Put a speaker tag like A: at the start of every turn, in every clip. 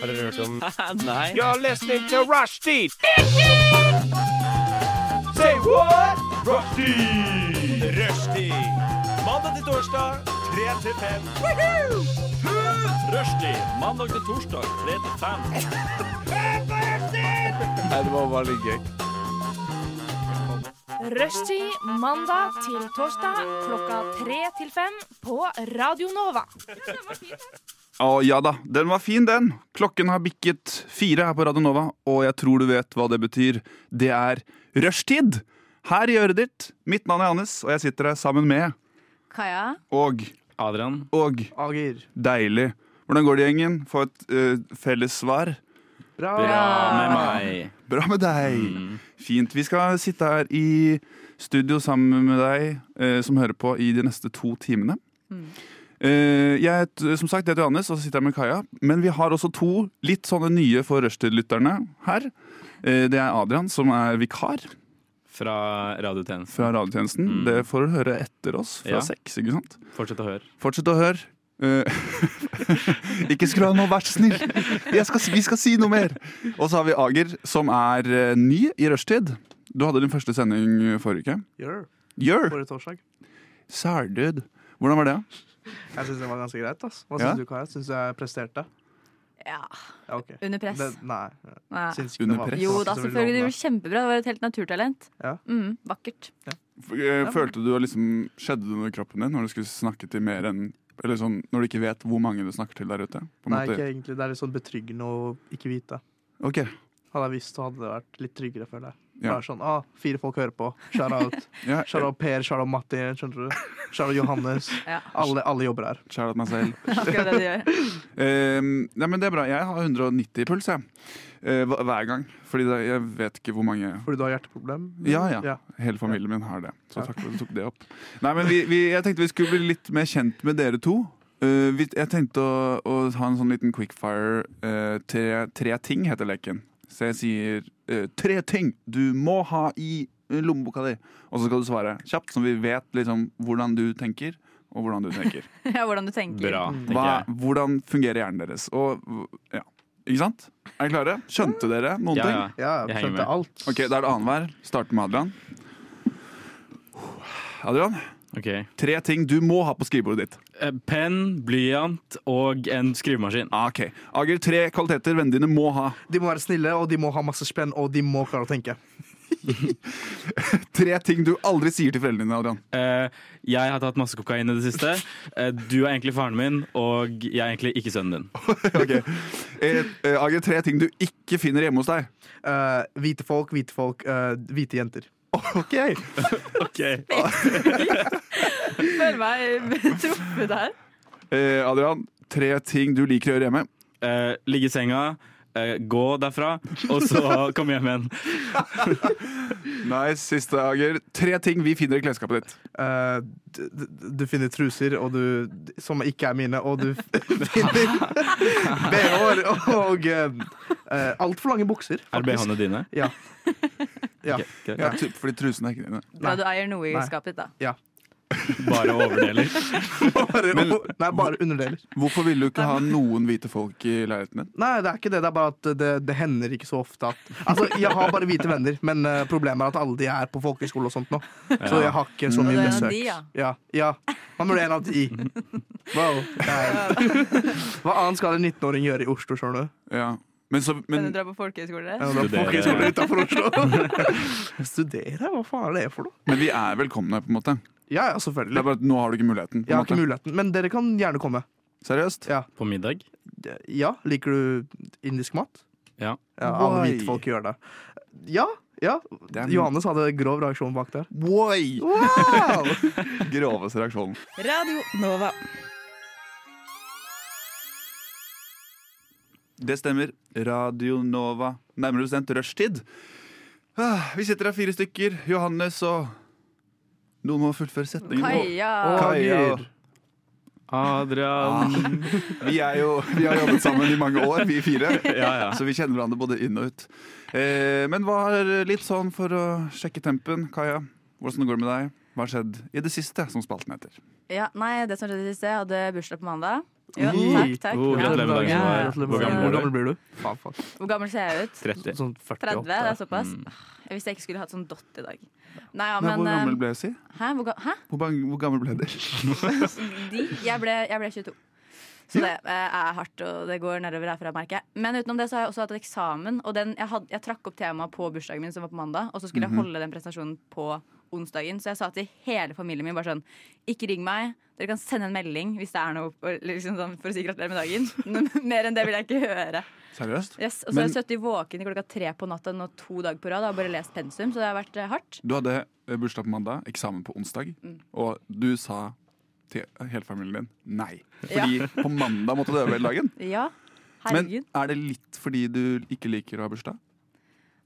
A: Har dere hørt om
B: Nei.
C: You're listening to Rushdie. Say what? Rushdie. Rushdie. Mandag til torsdag, 3 til 5. Rushdie. Mandag til torsdag, 3 til 5.
B: Nei, det var bare litt gøy.
D: Rushtid mandag til torsdag klokka tre til fem på Radio Nova.
B: Å ja da, den var fin, den. Klokken har bikket fire her på Radio Nova, og jeg tror du vet hva det betyr. Det er rushtid! Her i øret ditt. Mitt navn er Hannes, og jeg sitter her sammen med
E: Kaja?
B: og
A: Adrian?
B: og
F: Ager.
B: deilig. Hvordan går det, gjengen? Få et eh, felles svar.
F: Bra.
A: Bra med meg. Mm.
B: Bra med deg! Fint. Vi skal sitte her i studio sammen med deg eh, som hører på i de neste to timene. Eh, jeg het- som sagt, jeg heter Johannes, og så sitter jeg med Kaja. Men vi har også to litt sånne nye for rushtid-lytterne her. Eh, det er Adrian, som er vikar
A: Fra radiotjenesten.
B: fra radiotjenesten.
A: Mm.
B: Det får du høre etter oss fra
A: Ja.
B: seks, ikke sant?
A: Fortsett å høre.
B: Fortsett å høre. Eh, ikke skru av nå, vær så snill! Jeg skal, vi skal si noe mer! Og så har vi Ager, som er eh, ny i rushtid. Du hadde din første sending forrige uke.
F: Gjør.
B: Gjør!
F: Forrige torsdag.
B: Sardud. Hvordan var det?
F: Jeg syns det var ganske greit. ass. Hva
B: Ja?
F: syns du, Kaja? Syns du jeg presterte?
E: Ja.
F: Ja, ok.
E: Under press.
F: Det, nei.
E: Nei.
F: Syns ikke
B: Under
F: det var
B: press?
E: Jo
F: så
E: da,
F: veldig
E: selvfølgelig. Du
F: lovende.
E: gjorde kjempebra. Det var et helt naturtalent.
F: Ja.
E: Mm, vakkert.
B: F- eh, Følte du at liksom Skjedde det noe i kroppen din når du skulle snakke til mer enn Eller sånn når du ikke vet hvor mange du snakker til der ute? På en
F: Nei,
B: måte.
F: ikke egentlig. Det er litt sånn betryggende å ikke vite.
B: Ok,
F: Hadde jeg visst, så hadde det vært litt tryggere, føler jeg.
B: Ja.
F: Bare sånn, ah, Fire folk hører på. Shout out.
B: ja,
F: Shout out Per, shout out Matti, skjønner du. Shout out Johannes.
E: Ja.
F: Alle, alle jobber her.
B: Shout out meg selv.
E: Akkurat det du gjør.
B: Eh, nei, men det er bra. Jeg har 190 i puls, jeg. Eh, hva- hver gang. Fordi det, jeg vet ikke hvor mange
F: Fordi du har hjerteproblem?
B: Ja, ja.
F: ja.
B: Hele familien min har det. Så takk for at du tok det opp. Nei, men vi, vi, Jeg tenkte vi skulle bli litt mer kjent med dere to. Eh, vi, jeg tenkte å, å ha en sånn liten quickfire. eh, tre, tre ting heter leken. Så jeg sier eh, tre ting du må ha i lommeboka di. Og så skal du svare kjapt, så vi vet liksom hvordan du tenker. Og hvordan du tenker.
E: Ja, hvordan du tenker.
A: Bra, tenker
B: Hva,
A: jeg.
B: hvordan fungerer hjernen deres? Og, ja. Ikke sant? Er dere klare? Skjønte dere noen
A: Ja,
B: ting?
A: ja.
F: Ja,
A: Jeg henger
F: skjønte
A: med.
F: alt.
B: Ok, Da er det annenhver. Starter med Adrian. Adrian,
A: Ok.
B: tre ting du må ha på skrivebordet ditt.
A: Eh, Penn, blyant og en skrivemaskin.
B: Ah, ok. Ager, tre kvaliteter vennene dine må ha.
F: De må være snille, og de må ha masse spenn, og de må klare å tenke.
B: Tre ting du aldri sier til foreldrene dine. Adrian
A: Eh, jeg har tatt masse kokain i det siste. Eh, du er egentlig faren min, og jeg er egentlig ikke sønnen din.
B: Ok. eh, eh, Ager, tre ting du ikke finner hjemme hos deg.
F: Eh, hvite folk, hvite folk, eh, hvite jenter.
B: Ok
E: Føler meg truffet her.
B: eh, Adrian, tre ting du liker å gjøre hjemme.
A: Eh, ligge i senga, eh, gå derfra, og så komme hjem igjen.
B: Nice, siste Ager Tre ting vi finner i klesskapet ditt.
F: Eh, d- d- du finner truser og du, som ikke er mine, og du finner bh-er og uh, altfor lange bukser.
A: Er det BH-ene dine?
F: Ja. Ja.
A: Ok, greit.
B: Ja, tu- fordi trusene er ikke dine.
E: Bra du eier noe i
F: Nei.
E: skapet ditt, da.
A: Bare overdeler.
F: Bare,
B: Men-
F: nei, bare underdeler.
B: Hvorfor ville du ikke ha noen hvite folk i leiligheten din?
F: Nei, det er ikke det. Det er bare at det, det hender ikke så ofte at Altså, jeg har bare hvite venner, men eh, problemet er at alle de er på folkehøyskole og sånt nå. Så jeg har ikke så
E: Og du
F: mye
E: er en av
F: besøk.
E: de, ja.
F: Ja, ja. Man burde en av de. Wow. Nei. Hva annet skal en 19-åring gjøre i Oslo, skjønner du?
B: Ja. Men så,
E: Kan du
B: men,
E: dra på folkehøyskole?
F: Ja, da
A: Studere.
F: Folkehøyskole utenfor Oslo. Studere? Hva faen er det for noe?
B: men vi er velkomne, på en måte.
F: Ja, ja,
B: Det er
F: selvfølgelig.
B: bare at nå har du ikke muligheten. På
F: Jeg
B: en
F: har ikke
B: måte.
F: muligheten, men dere kan gjerne komme.
B: Seriøst?
F: Ja.
A: På middag?
F: ja, liker du indisk mat?
A: Ja.
F: ja alle
B: Why?
F: hvite folk gjør det. Ja, ja.
B: Det er-
F: Johannes hadde grov reaksjon bak der.
B: Woi!
F: Wow!
B: Oh. Groveste reaksjonen.
E: Radio Nova.
B: Det stemmer. Radio Nova. Nærmere bestemt rushtid. Ah, Vi sitter her fire stykker. Johannes og Noen må fullføre setningen.
E: Kaja.
B: Kaja.
F: Ager.
A: Adrian
B: Vi, er jo, vi har jobbet sammen i mange år, vi fire.
A: Ja, ja.
B: Så vi kjenner hverandre både inn og ut. Eh, men hva er litt sånn for å sjekke tempen, Kaja? Hvordan går det med deg? Hva har skjedd i det siste, som spalten heter?
E: Ja, nei, det som skjedde sist, jeg hadde eh, bursdag på mandag. Ja, takk, takk.
F: Oh,
A: Ja.
F: gratulerer med dagen.
A: Ja.
F: Gratulerer med
A: Hvor gammel
F: dagen.
A: er
F: Hvor
A: du?
F: gammel blir du? Faen, faen.
E: Hvor gammel ser jeg ut?
G: 30.
F: Sånn
E: 30?
F: 48.
E: Det er såpass?
A: Mm.
E: Jeg visste jeg ikke skulle hatt sånn dott i dag. Nei, ja,
B: Nei,
E: men
B: hvor
E: eh,
B: gammel ble jeg, si?
E: Hæ? Hvor, ga- hæ?
B: Hvor, bang- hvor gammel ble dere?
E: De? Jeg ble, jeg ble 22. Så det eh, er hardt, og det går nedover herfra, merker jeg. Men utenom det så har jeg også hatt et eksamen. Og den, jeg, had, jeg trakk opp temaet på bursdagen min, som var på mandag. Og så skulle jeg holde den presentasjonen på onsdagen. Så jeg sa til hele familien min bare sånn Ikke ring meg. Dere kan sende en melding hvis det er noe og liksom sånn, for å si gratulerer med dagen. Men mer enn det vil jeg ikke høre.
B: Seriøst?
E: Yes, og så
B: Men-
E: har jeg sittet våken til klokka tre på natta nå to dager på rad og har bare lest pensum, så det har vært eh, hardt.
B: Du hadde eh, bursdag på mandag, eksamen på onsdag,
E: Mm.
B: og du sa til hele familien din nei. Fordi på mandag måtte du øve hele dagen.
E: Ja,
B: Men
E: herregud.
B: er det litt fordi du ikke liker å ha bursdag?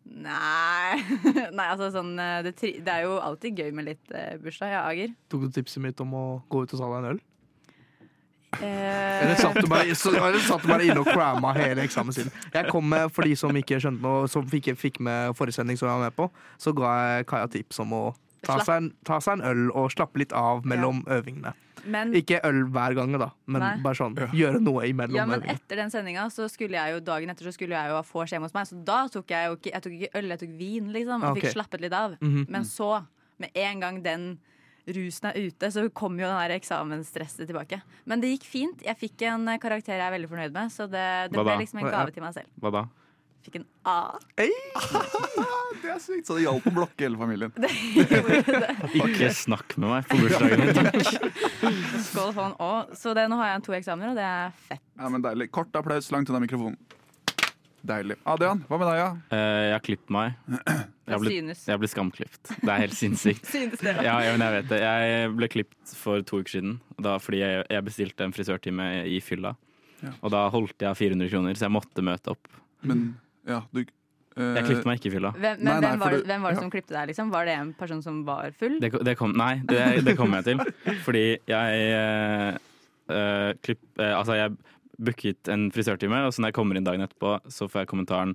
E: Nei. Nei, altså sånn eh, det, tri det er jo alltid gøy med litt eh, bursdag. Ja, Ager.
F: Tok du tipset mitt om å gå ut og ta deg en øl?
E: Eh,
F: Eller satt du bare, så, eller satt du bare inne og cramma hele eksamen sin? Jeg kom med, For de som ikke skjønte noe, som ikke fikk med forrige sending som jeg var med på, så ga jeg Kaja tips om å ta seg, en, ta seg en øl og slappe litt av mellom øvingene.
E: men,
F: Ikke øl hver gang, da, men
E: Nei.
F: bare sånn gjøre noe imellom
E: ja, men
F: øvingene.
E: etter den sendinga, så skulle jeg jo dagen etter så skulle jeg jo ha vors hjemme hos meg, så da tok jeg jo ikke, jeg tok ikke øl, jeg tok vin, liksom. Og
F: Ok.
E: fikk slappet litt av.
F: Mhm.
E: Men så, med en gang den rusen er ute, så kom jo den der eksamensstresset tilbake. Men det gikk fint. Jeg fikk en eh, karakter jeg er veldig fornøyd med, så det,
A: Hva
E: det
A: da?
E: ble liksom en
F: Hva-
E: gave til meg selv.
A: Hva da?
E: Fikk en A.
B: Det er sykt, så det gjaldt å blokke hele familien.
A: Ikke snakk med meg på bursdagen min.
E: Skål for en A. Så det, nå har jeg to eksamener, og det er fett.
B: Ja, men deilig. Kort applaus langt unna mikrofonen. Deilig. Adrian, hva med deg? Ja?
A: Eh, Jeg har klippet meg. Jeg har blitt,
E: Synes.
A: jeg har blitt skamklipt. Det er helt sinnssykt.
E: Synes det.
A: Ja, ja, men jeg vet det. Jeg ble klippet for to uker siden da, fordi jeg, jeg bestilte en frisørtime i fylla.
B: Ja.
A: Og da holdt jeg 400 kroner, så jeg måtte møte opp.
B: Men ja, du eh,
A: Jeg klippet meg ikke i fylla.
E: Hvem, men
B: Nei, nei, for
E: hvem, var det,
B: du-
E: hvem var det
B: ja.
E: som klippte deg? Liksom? Var det en person som var full?
A: Det, det kom, nei, det, det kommer jeg til. Fordi jeg eh, eh, klipp, eh, Altså, jeg booket en frisørtime, og så når jeg kommer inn dagen etterpå, så får jeg kommentaren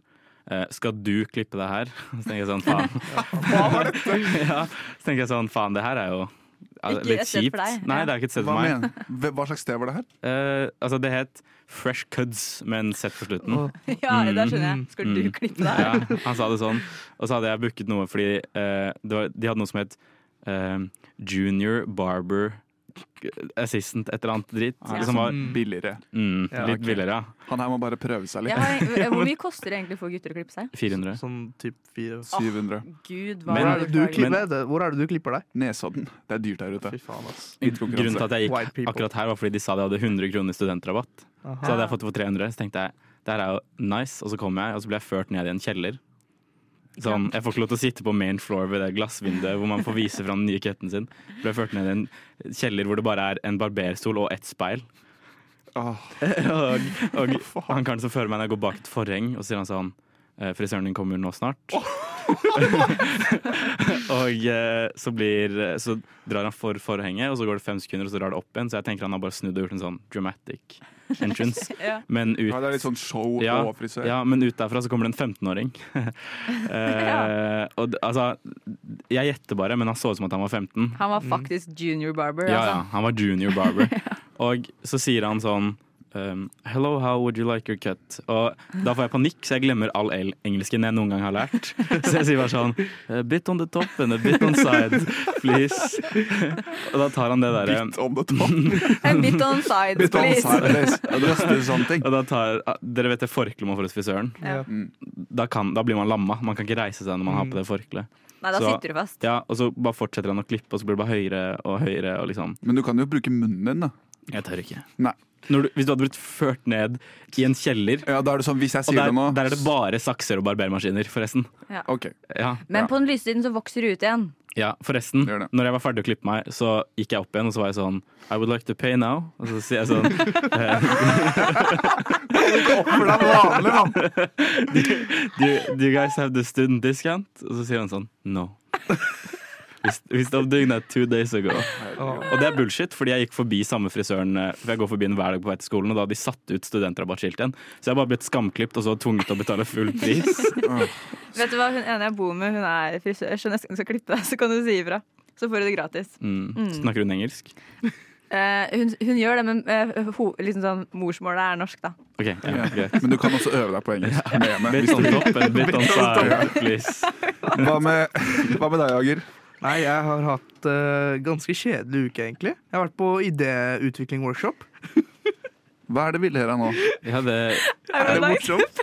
A: eh, skal du klippe det her? Så tenker jeg sånn, faen. ja, så tenker jeg sånn, faen, det her er jo ja,
E: Ikke
A: litt
E: et sted for
A: kjipt.
E: deg,
A: Nei,
E: ja.
A: det er ikke et sted
B: hva,
A: for meg.
B: mener, hva- hva slags sted var det her?
A: Eh, altså, det het Fresh Cuds med en Z på slutten.
F: Åh.
E: Ja, der skjønner jeg. Skulle du
A: Mm.
E: klippe deg?
A: Ja, han sa det sånn. Og så hadde jeg booket noe fordi eh, det var, de hadde noe som het eh, Junior Barber Assistant, et eller annet dritt.
E: Ja.
A: Som var
F: Mm.
B: Billigere.
A: mm,
F: Ja,
A: litt
F: ok.
A: billigere, ja.
B: Han her må bare prøve seg
E: Jeg
B: litt.
E: har, hvor mye koster det egentlig for gutter å klippe seg?
A: 400.
F: Sånn typ fire.
B: 700.
E: Ah. Gud, hva
A: Men-
F: Hvor er, det
E: var det
F: du
E: for
A: Men-
F: klipper, det- hvor er det du klipper deg?
B: Nesodden. Det er dyrt der ute.
F: Fy faen, ass.
A: Grunnen til at jeg gikk
F: White people.
A: akkurat her, var fordi de sa de hadde 100 kroner studentrabatt. Så hadde jeg fått det for 300, så tenkte jeg det her er jo nice. Og så kom jeg, og så ble jeg ført ned i en kjeller. Sånn, jeg får ikke lov til å sitte på main floor ved det glassvinduet hvor man får vise fram den nye ketten sin. Ble ført ned i en kjeller hvor det bare er en barberstol og ett speil.
B: Åh,
A: Og, og han karen som fører meg når jeg går bak et forheng, og så sier han sånn «Eh, Frisøren din kommer nå snart. og eh, så, blir, så drar han for forhenget, og så går det fem sekunder, og så drar det opp igjen. Så jeg tenker han har bare snudd og gjort en sånn dramatic entrance.
E: Ja.
A: Men ut,
B: ja, det er litt sånn show
A: Ja,
B: og frisør.
A: ja, men ut derfra så kommer det en 15-åring. eh, og d- altså Jeg gjetter bare, men han så ut som at han var 15.
E: Han var faktisk junior barber.
A: Ja, ja,
E: altså.
A: han var junior barber. Og så sier han sånn um, Hello, how would you like your cut? Og da får jeg panikk, så jeg glemmer all el- engelsken jeg noen gang har lært. Så jeg sier bare sånn A bit on the top and a bit on side, please. Og da tar han det derre
B: Bitt on the top.
E: En bit on side,
B: Bitt on
E: please.
B: side. Det er sånne ting.
A: og da tar, ah, Dere vet det forkleet man får hos frisøren?
E: Ja.
A: Da, kan, da blir man lamma. Man kan ikke reise seg når man har
B: Mm.
A: på det forkleet.
E: Nei, da
A: Så-
E: sitter du fast.
A: Ja, og så bare fortsetter han å klippe, og så blir det bare høyere og høyere. Og liksom,
B: Men du kan jo bruke munnen din, da.
A: jeg tør ikke.
B: Nei.
A: Når du, hvis du hadde blitt ført ned i en kjeller
B: Ja, da er det sånn, hvis jeg
A: Og
B: sier
A: der,
B: det nå
A: der er det bare sakser og barbermaskiner, forresten.
B: OK.
A: Ja,
E: Men på den lyse siden så vokser du ut igjen.
A: ja forresten.
B: Gjør det.
A: Når jeg var ferdig å klippe meg, så gikk jeg opp igjen og så var jeg sånn I would like to pay now. Og så sier jeg sånn
B: For det er vanlig, mann!
A: do, you- do you guys have the student discount? Og så sier han sånn No. We st- We stopped doing that two days ago. Og det er bullshit, fordi jeg gikk forbi samme frisøren eh, For jeg går forbi den hver dag på vei til skolen, og da hadde de satt ut studentrabattskiltet igjen. Så jeg har bare blitt skamklipt og så tvunget til å betale full pris.
E: Vet du hva hun ene jeg bor med, hun er frisør, så neste gang du skal klippe deg, så kan du si ifra. Så får du det gratis.
A: Mm. Snakker hun Mm. engelsk?
E: Eh, hun, hun gjør det, men eh, ho, liksom sånn, morsmålet er norsk, da.
A: Ok, ja,
B: Ja.
A: greit.
B: Men du kan også øve deg på engelsk. Med meg,
A: Bit
B: hvis du
A: on
B: vil.
A: top and bit on fire, please.
B: hva, med, hva med deg, Ager?
F: Nei, jeg har hatt eh, ganske kjedelig uke, egentlig. Jeg har vært på idéutvikling-workshop.
B: Hva er det Ville her av nå?
A: Ja, det
F: Er det morsomt?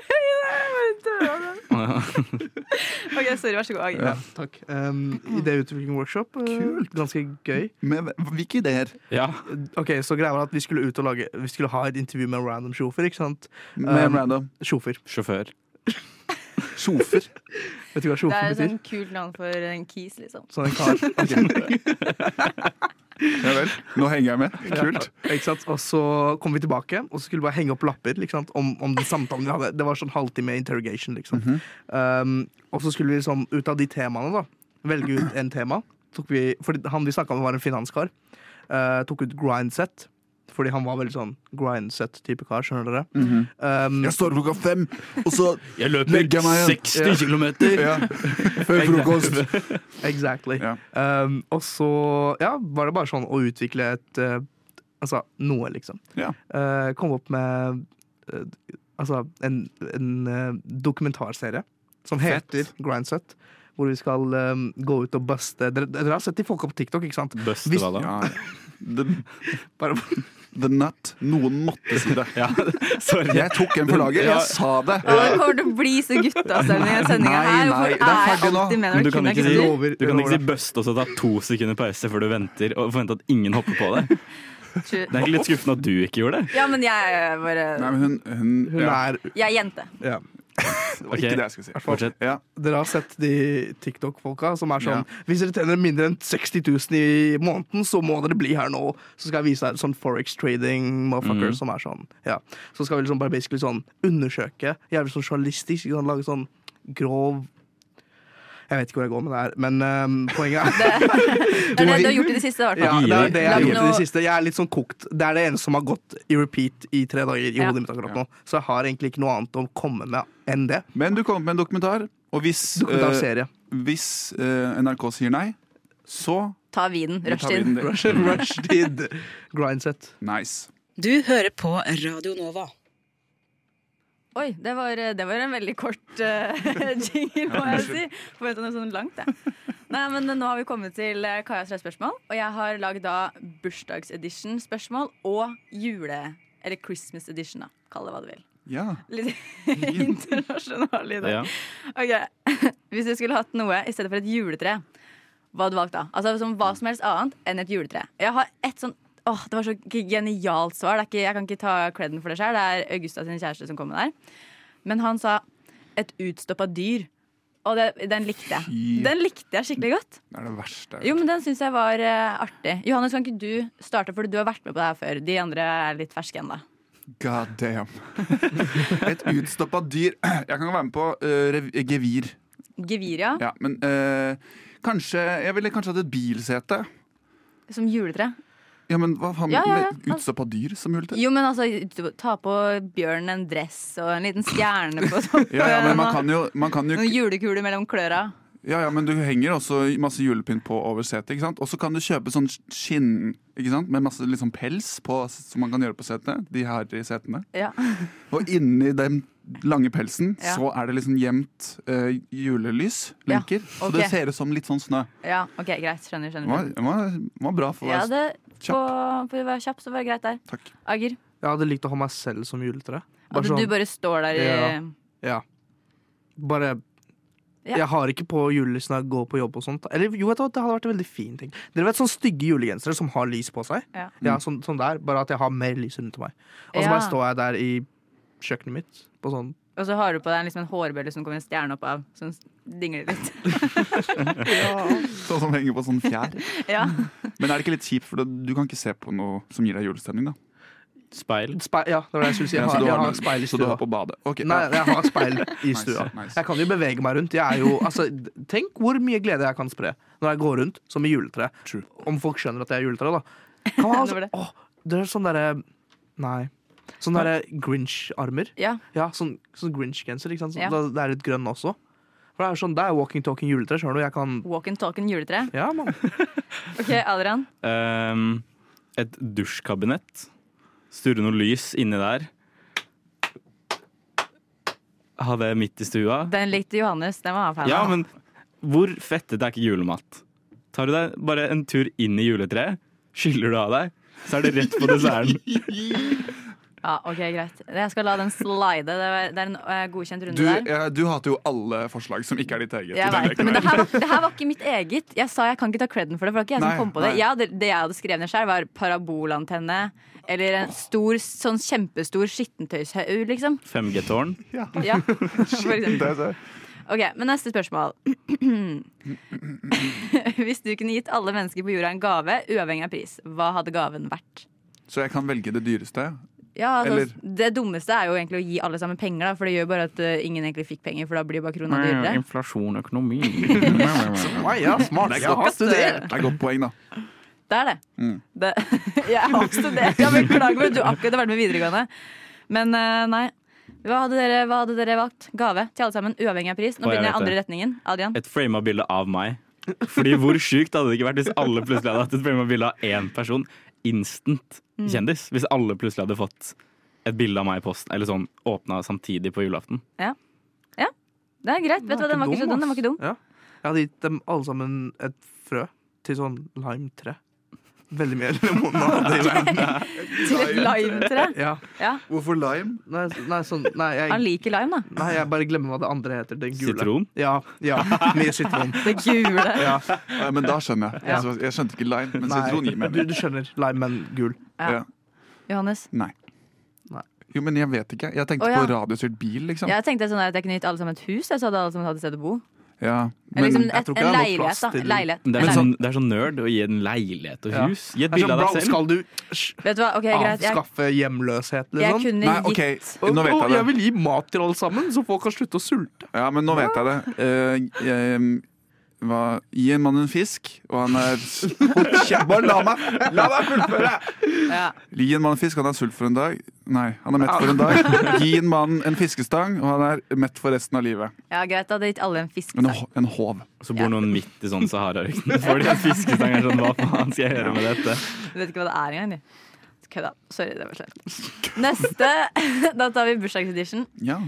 E: OK, sorry. Vær så god. Agnes.
B: Ja.
F: Takk. Um, Idéutvikling-workshop. eh,
B: Kult.
F: Ganske gøy.
B: Med, hvilke ideer?
A: Ja.
F: Ok, Så greia var at vi skulle ut og lage Vi skulle ha et intervju med en random sjofer, ikke sant?
B: Med
F: Um,
B: random.
F: Sjofer.
A: Sjåfør.
B: Sjofer.
F: Vet du hva
E: Det
F: sjofer
E: er
F: betyr?
E: sånn kult navn for en kis, liksom.
F: Sånn en kar.
B: Ja vel. Nå henger jeg med. Kult.
F: Ikke sant? Og så kom vi tilbake, og så skulle vi bare henge opp lapper ikke sant? Om, om den samtalen vi hadde. Det var sånn halvtime interrogation, liksom. um, og så skulle vi liksom ut av de temaene, da, velge ut en tema. Tok vi, fordi han vi snakka med, var en finanskar. Uh, tok ut grindset, fordi han var veldig sånn grindset-type kar, skjønner dere.
B: Mm.
F: um,
B: Jeg står klokka fem, og så
A: Jeg
B: Legger meg igjen.
A: 60 km!
B: ja, Før frokost.
F: Exactly.
B: Ja.
F: Um, og så ja, var det bare sånn å utvikle et eh, Altså noe, liksom.
B: Ja.
F: Eh, kom opp med eh, altså en, en eh, dokumentarserie som
B: Fett.
F: heter Grindset. Hvor vi skal eh, gå ut og buste dere, dere har sett de folka på TikTok, ikke sant?
A: Bust,
F: Hvis-
A: hva da?
B: Ja. The,
F: Bare,
B: the nut. Noen måtte si det.
A: Ja, sorry.
B: Jeg tok en for laget.
A: Ja.
B: Jeg sa det.
E: Og det kommer til å bli så guttastemning i den sendinga
B: Nei,
E: her.
B: nei,
E: Hvorfor
B: det er
E: er
B: ferdig nå.
E: alltid med
A: Men
E: når
A: du kan
E: kvinner
A: ikke
E: er
A: si,
E: gutter?
F: Lover-
A: du kan ikke si
F: lover.
A: bust og så ta to sekunder pause før du venter og forvente at ingen hopper på deg. Det er
E: True.
A: ikke litt skuffende at du ikke gjorde det.
E: Ja, men jeg er bare
B: Nei, men hun, hun,
F: hun
B: ja,
F: er
E: Jeg er jente.
F: ja.
B: Det var ikke
A: Ok.
B: det jeg skulle si.
A: Fortsett.
B: Ja.
F: Dere har sett de TikTok-folka som er sånn
B: Ja.
F: Hvis dere tjener mindre enn 60 000 i måneden, så må dere bli her nå. Så skal jeg vise deg sånn Forex trading motherfucker som er sånn. Ja. Så skal vi liksom bare basically sånn undersøke. Jævlig sånn journalistisk. Ikke sant? Lage sånn grov Jeg vet ikke hvor jeg går med det her, men øhm, poenget er
E: Det er det du har gjort i det siste, i hvert
F: ja,
E: fall.
F: det er det jeg har
E: Lag
F: gjort i det
E: noe-
F: siste. Jeg er litt sånn kokt. Det er det eneste som har gått i repeat i tre dager i
E: Ja.
F: hodet mitt akkurat nå. Så jeg har egentlig ikke noe annet å komme med enn det.
B: Men du kom opp med en dokumentar, og hvis, eh,
F: Dokumentarserie.
B: hvis eh, NRK sier nei, så
E: Ta vinen.
B: tar vi
E: Rushtid.
B: den der.
F: Rushtid. Grindset.
B: Nice.
G: Du hører på Radio Nova.
E: Oi, det var, eh, det var en veldig kort eh, jingle, må jeg si. Forventa noe sånn langt, jeg. Nei, men nå har vi kommet til eh, Kajas tre spørsmål, og jeg har lagd da bursdagsedition-spørsmål og jule- eller Christmas edition, da. Kall det hva du vil.
B: Ja.
E: Litt internasjonale i dag.
A: Ja.
E: Ok, Hvis du skulle hatt noe i stedet for et juletre, hva hadde du valgt da? Altså som Hva som helst annet enn et juletre. Jeg har et sånn Åh, Det var så g- genialt svar. Det er ikke, jeg kan ikke ta creden for det sjøl. Det er Augusta sin kjæreste som kom med der. Men han sa 'et utstoppa dyr'. Og det, den likte jeg.
B: Fy.
E: Den likte jeg skikkelig godt.
B: Det er det verste.
E: Jo, men Den syns jeg var eh, artig. Johannes, kan ikke du starte, for du har vært med på det her før. De andre er litt ferske ennå.
B: God damn. Et utstoppa dyr. Jeg kan være med på eh, rev gevir.
E: Geviria
B: Ja, men eh, kanskje Jeg ville kanskje hatt et bilsete.
E: som juletre.
B: Ja, men hva faen?
E: Ja, ja, ja.
B: med Utstoppa dyr som juletre?
E: Jo, men altså, ta på bjørnen en dress og en liten stjerne på toppen.
B: Ja, ja, men man kan jo, man kan jo
E: Noen julekuler mellom kløra.
B: Ja, ja, men du henger også masse julepynt på over setet, ikke sant? Og så kan du kjøpe sånn skinn, ikke sant? Med masse liksom pels på, som man kan gjøre på setene. De har i setene.
E: Ja.
B: Og inni den lange pelsen
E: Ja.
B: så er det liksom gjemt eh, julelys,
E: Ja,
B: lenker. Så
E: ok.
B: det ser ut som litt sånn snø.
E: ja, ok, greit. Skjønner.
B: Det
E: skjønner.
B: var, det var, det var bra for
E: Ja,
B: oss.
E: det,
B: Kjapp.
E: på, for å være kjapp, så var det greit der.
B: Takk.
E: Ager,
F: Jeg hadde likt å ha meg selv som juletre.
E: at
F: Bare sånn,
E: du bare står der i
F: Ja. ja. Bare
E: Ja.
F: Jeg har ikke på julelysen når jeg går på jobb og sånt. Eller jo, vet du, hva, det hadde vært en veldig fin ting. Dere vet sånne stygge julegensere som har lys på seg?
E: Ja.
F: sånn, sånn der, bare at jeg har mer lys rundt meg. Og så
E: Ja.
F: bare står jeg der i kjøkkenet mitt på sånn
E: Og så har du på deg liksom en hårbølle som kommer en stjerne opp av. Som dingler litt.
B: Sånn som henger på sånn fjær.
E: Ja.
B: Men er det ikke litt kjipt, for du kan ikke se på noe som gir deg julestemning, da?
A: Speil.
F: speil, Ja, det var det jeg skulle si. Jeg
B: Ja, så
F: har,
B: du
F: jeg
B: har
F: har
B: den.
F: speil i
B: Så du
F: stua.
B: har på badet. Ok,
F: Nei,
B: ja.
F: jeg har speil i
B: Nice,
F: stua.
B: nice.
F: Jeg kan jo bevege meg rundt. Jeg er jo, altså, tenk hvor mye glede jeg kan spre når jeg går rundt som i juletre.
B: True.
F: Om folk skjønner at jeg er juletre, da. Kan man,
E: Det var
F: altså,
E: det.
F: åh, det er sånn derre Nei. Sånn derre Grinch-armer.
E: ja.
F: Ja, sånn, sånn Grinch-genser. ikke sant? Sånn,
E: Ja.
F: da- Det er litt grønn også. For det er jo sånn, det er walking talking juletre. Skjønner du? Jeg kan
E: Walk and talk and juletre.
F: Ja, mann.
E: Ok, Adrian.
A: Ehm, et dusjkabinett. Sturre noe lys inni der. Ha det midt i stua.
E: Den likte Johannes. Den var han fan
A: Ja,
E: av.
A: men hvor fettet er ikke julemat? Tar du deg bare en tur inn i juletreet, skyller du av deg, så er det rett på desserten.
E: Ja, ok, greit. Jeg skal la den slide. Det er, det er en eh, godkjent runde
B: Du,
E: der.
B: ja, du hater jo alle forslag som ikke er ditt eget. i
E: Jeg
B: den
E: vet, det,
B: leken
E: men
B: der.
E: det her, var- det her var ikke mitt eget. Jeg sa jeg kan ikke ta creden for det. For det var ikke jeg
B: Nei,
E: som kom på det.
B: nei.
E: Jeg hadde, det jeg hadde skrevet ned selv, var parabolantenne. Eller en stor, sånn kjempestor skittentøyshaug, liksom.
A: 5G-tårn.
E: Ja, for eksempel. Ok, men neste spørsmål. Hvis du kunne gitt alle mennesker på jorda en gave, uavhengig av pris, hva hadde gaven vært?
B: Så jeg kan velge det dyreste.
E: Ja, altså,
B: Eller-
E: Det dummeste er jo egentlig å gi alle sammen penger, da, for det gjør bare at eh, ingen egentlig fikk penger, for da blir bare krona dyrere.
A: Inflasjon, økonomi
F: Nei, ja, smart.
E: Det er
F: Jeg har
E: godt,
F: studert.
B: Det er et godt poeng, da.
E: Det er det.
B: Mm.
E: det jeg har studert, jeg beklager meg, du har akkurat vært med videregående. Men eh, nei. Hva hadde, dere, hva hadde dere valgt? Gave til alle sammen, uavhengig av pris.
A: Å,
E: Nå
A: jeg
E: begynner jeg
A: vet
E: andre
A: det.
E: retningen. Adrian.
A: Et frama bilde av meg. Fordi hvor sjukt hadde det ikke vært hvis alle plutselig hadde hatt et frama bilde av én person? Instant kjendis. Hvis alle plutselig hadde fått et bilde av meg i posten, eller sånn åpna samtidig på julaften.
E: Det er greit. Vet du hva, den var ikke så dum. Den var ikke dum.
F: ass. Ja. Jeg hadde gitt dem alle sammen et frø til sånn lime-tre. Veldig mye lemoner.
E: Til et limetre.
F: Ja.
B: Hvorfor lime?
F: Nei, nei, sånn, nei,
E: Han
F: jeg,
E: liker lime, da.
F: nei, jeg bare glemmer hva det andre heter. Den gule.
A: Sitron.
F: Ja, ja, mye sitron.
E: Det gule.
F: Ja,
B: Ja, Eh, men da skjønner jeg.
F: Ja.
B: Altså, jeg skjønte ikke lime, men
F: nei,
B: sitron gir
F: du,
B: mening.
F: du skjønner. Lime, men gul.
E: Ja.
B: Ja.
E: Johannes.
B: Nei.
F: Nei.
B: Jo, men jeg vet ikke. Jeg tenkte
E: Å, ja.
B: på radiostyrt bil, liksom.
E: Jeg tenkte sånn her at jeg kunne gitt alle sammen et hus, jeg, så hadde alle sammen hatt et sted å bo.
B: Ja, men
E: Eller liksom
F: jeg
E: et,
F: tror ikke det
E: en
F: er noe
E: leilighet,
F: plass
E: da.
F: til-
E: Leilighet.
A: Det er,
E: Leilighet.
A: sånn, det er så nerd å gi en leilighet og
F: Ja.
A: hus. Gi et
F: Det er
A: bilde
F: sånn,
A: av
F: bro,
A: deg selv.
F: skal du sj,
E: Vet du hva, ok, greit. Jeg,
F: avskaffe hjemløshet,
E: jeg
F: liksom?
E: kunne
B: Nei,
E: gitt
B: OK,
F: Og,
B: nå vet
F: og
B: jeg
F: jeg
B: det.
F: vil gi mat til alle sammen, så folk kan slutte å sulte.
B: Ja, men nå vet jeg det. Eh, jeg, hva, gi en mann en fisk, og han er Kjempe- Bare la meg, la meg fullføre!
E: ja.
B: Gi en mann en fisk, han er sult for en dag. Nei, han er mett for en dag. Gi en mann en fiskestang, og han er mett for resten av livet.
E: ja, greit, da hadde jeg gitt alle en
B: En,
E: fiskestang.
B: h- en håv.
A: Så bor noen midt i sånn Sahara-ørkenen. Får de en fiskestang er sånn, hva faen skal jeg gjøre med dette?
E: Jeg vet ikke hva det er engang, de. Kødda. Sorry, det var slemt. Neste. Da tar vi bursdagsedition.
B: Ja.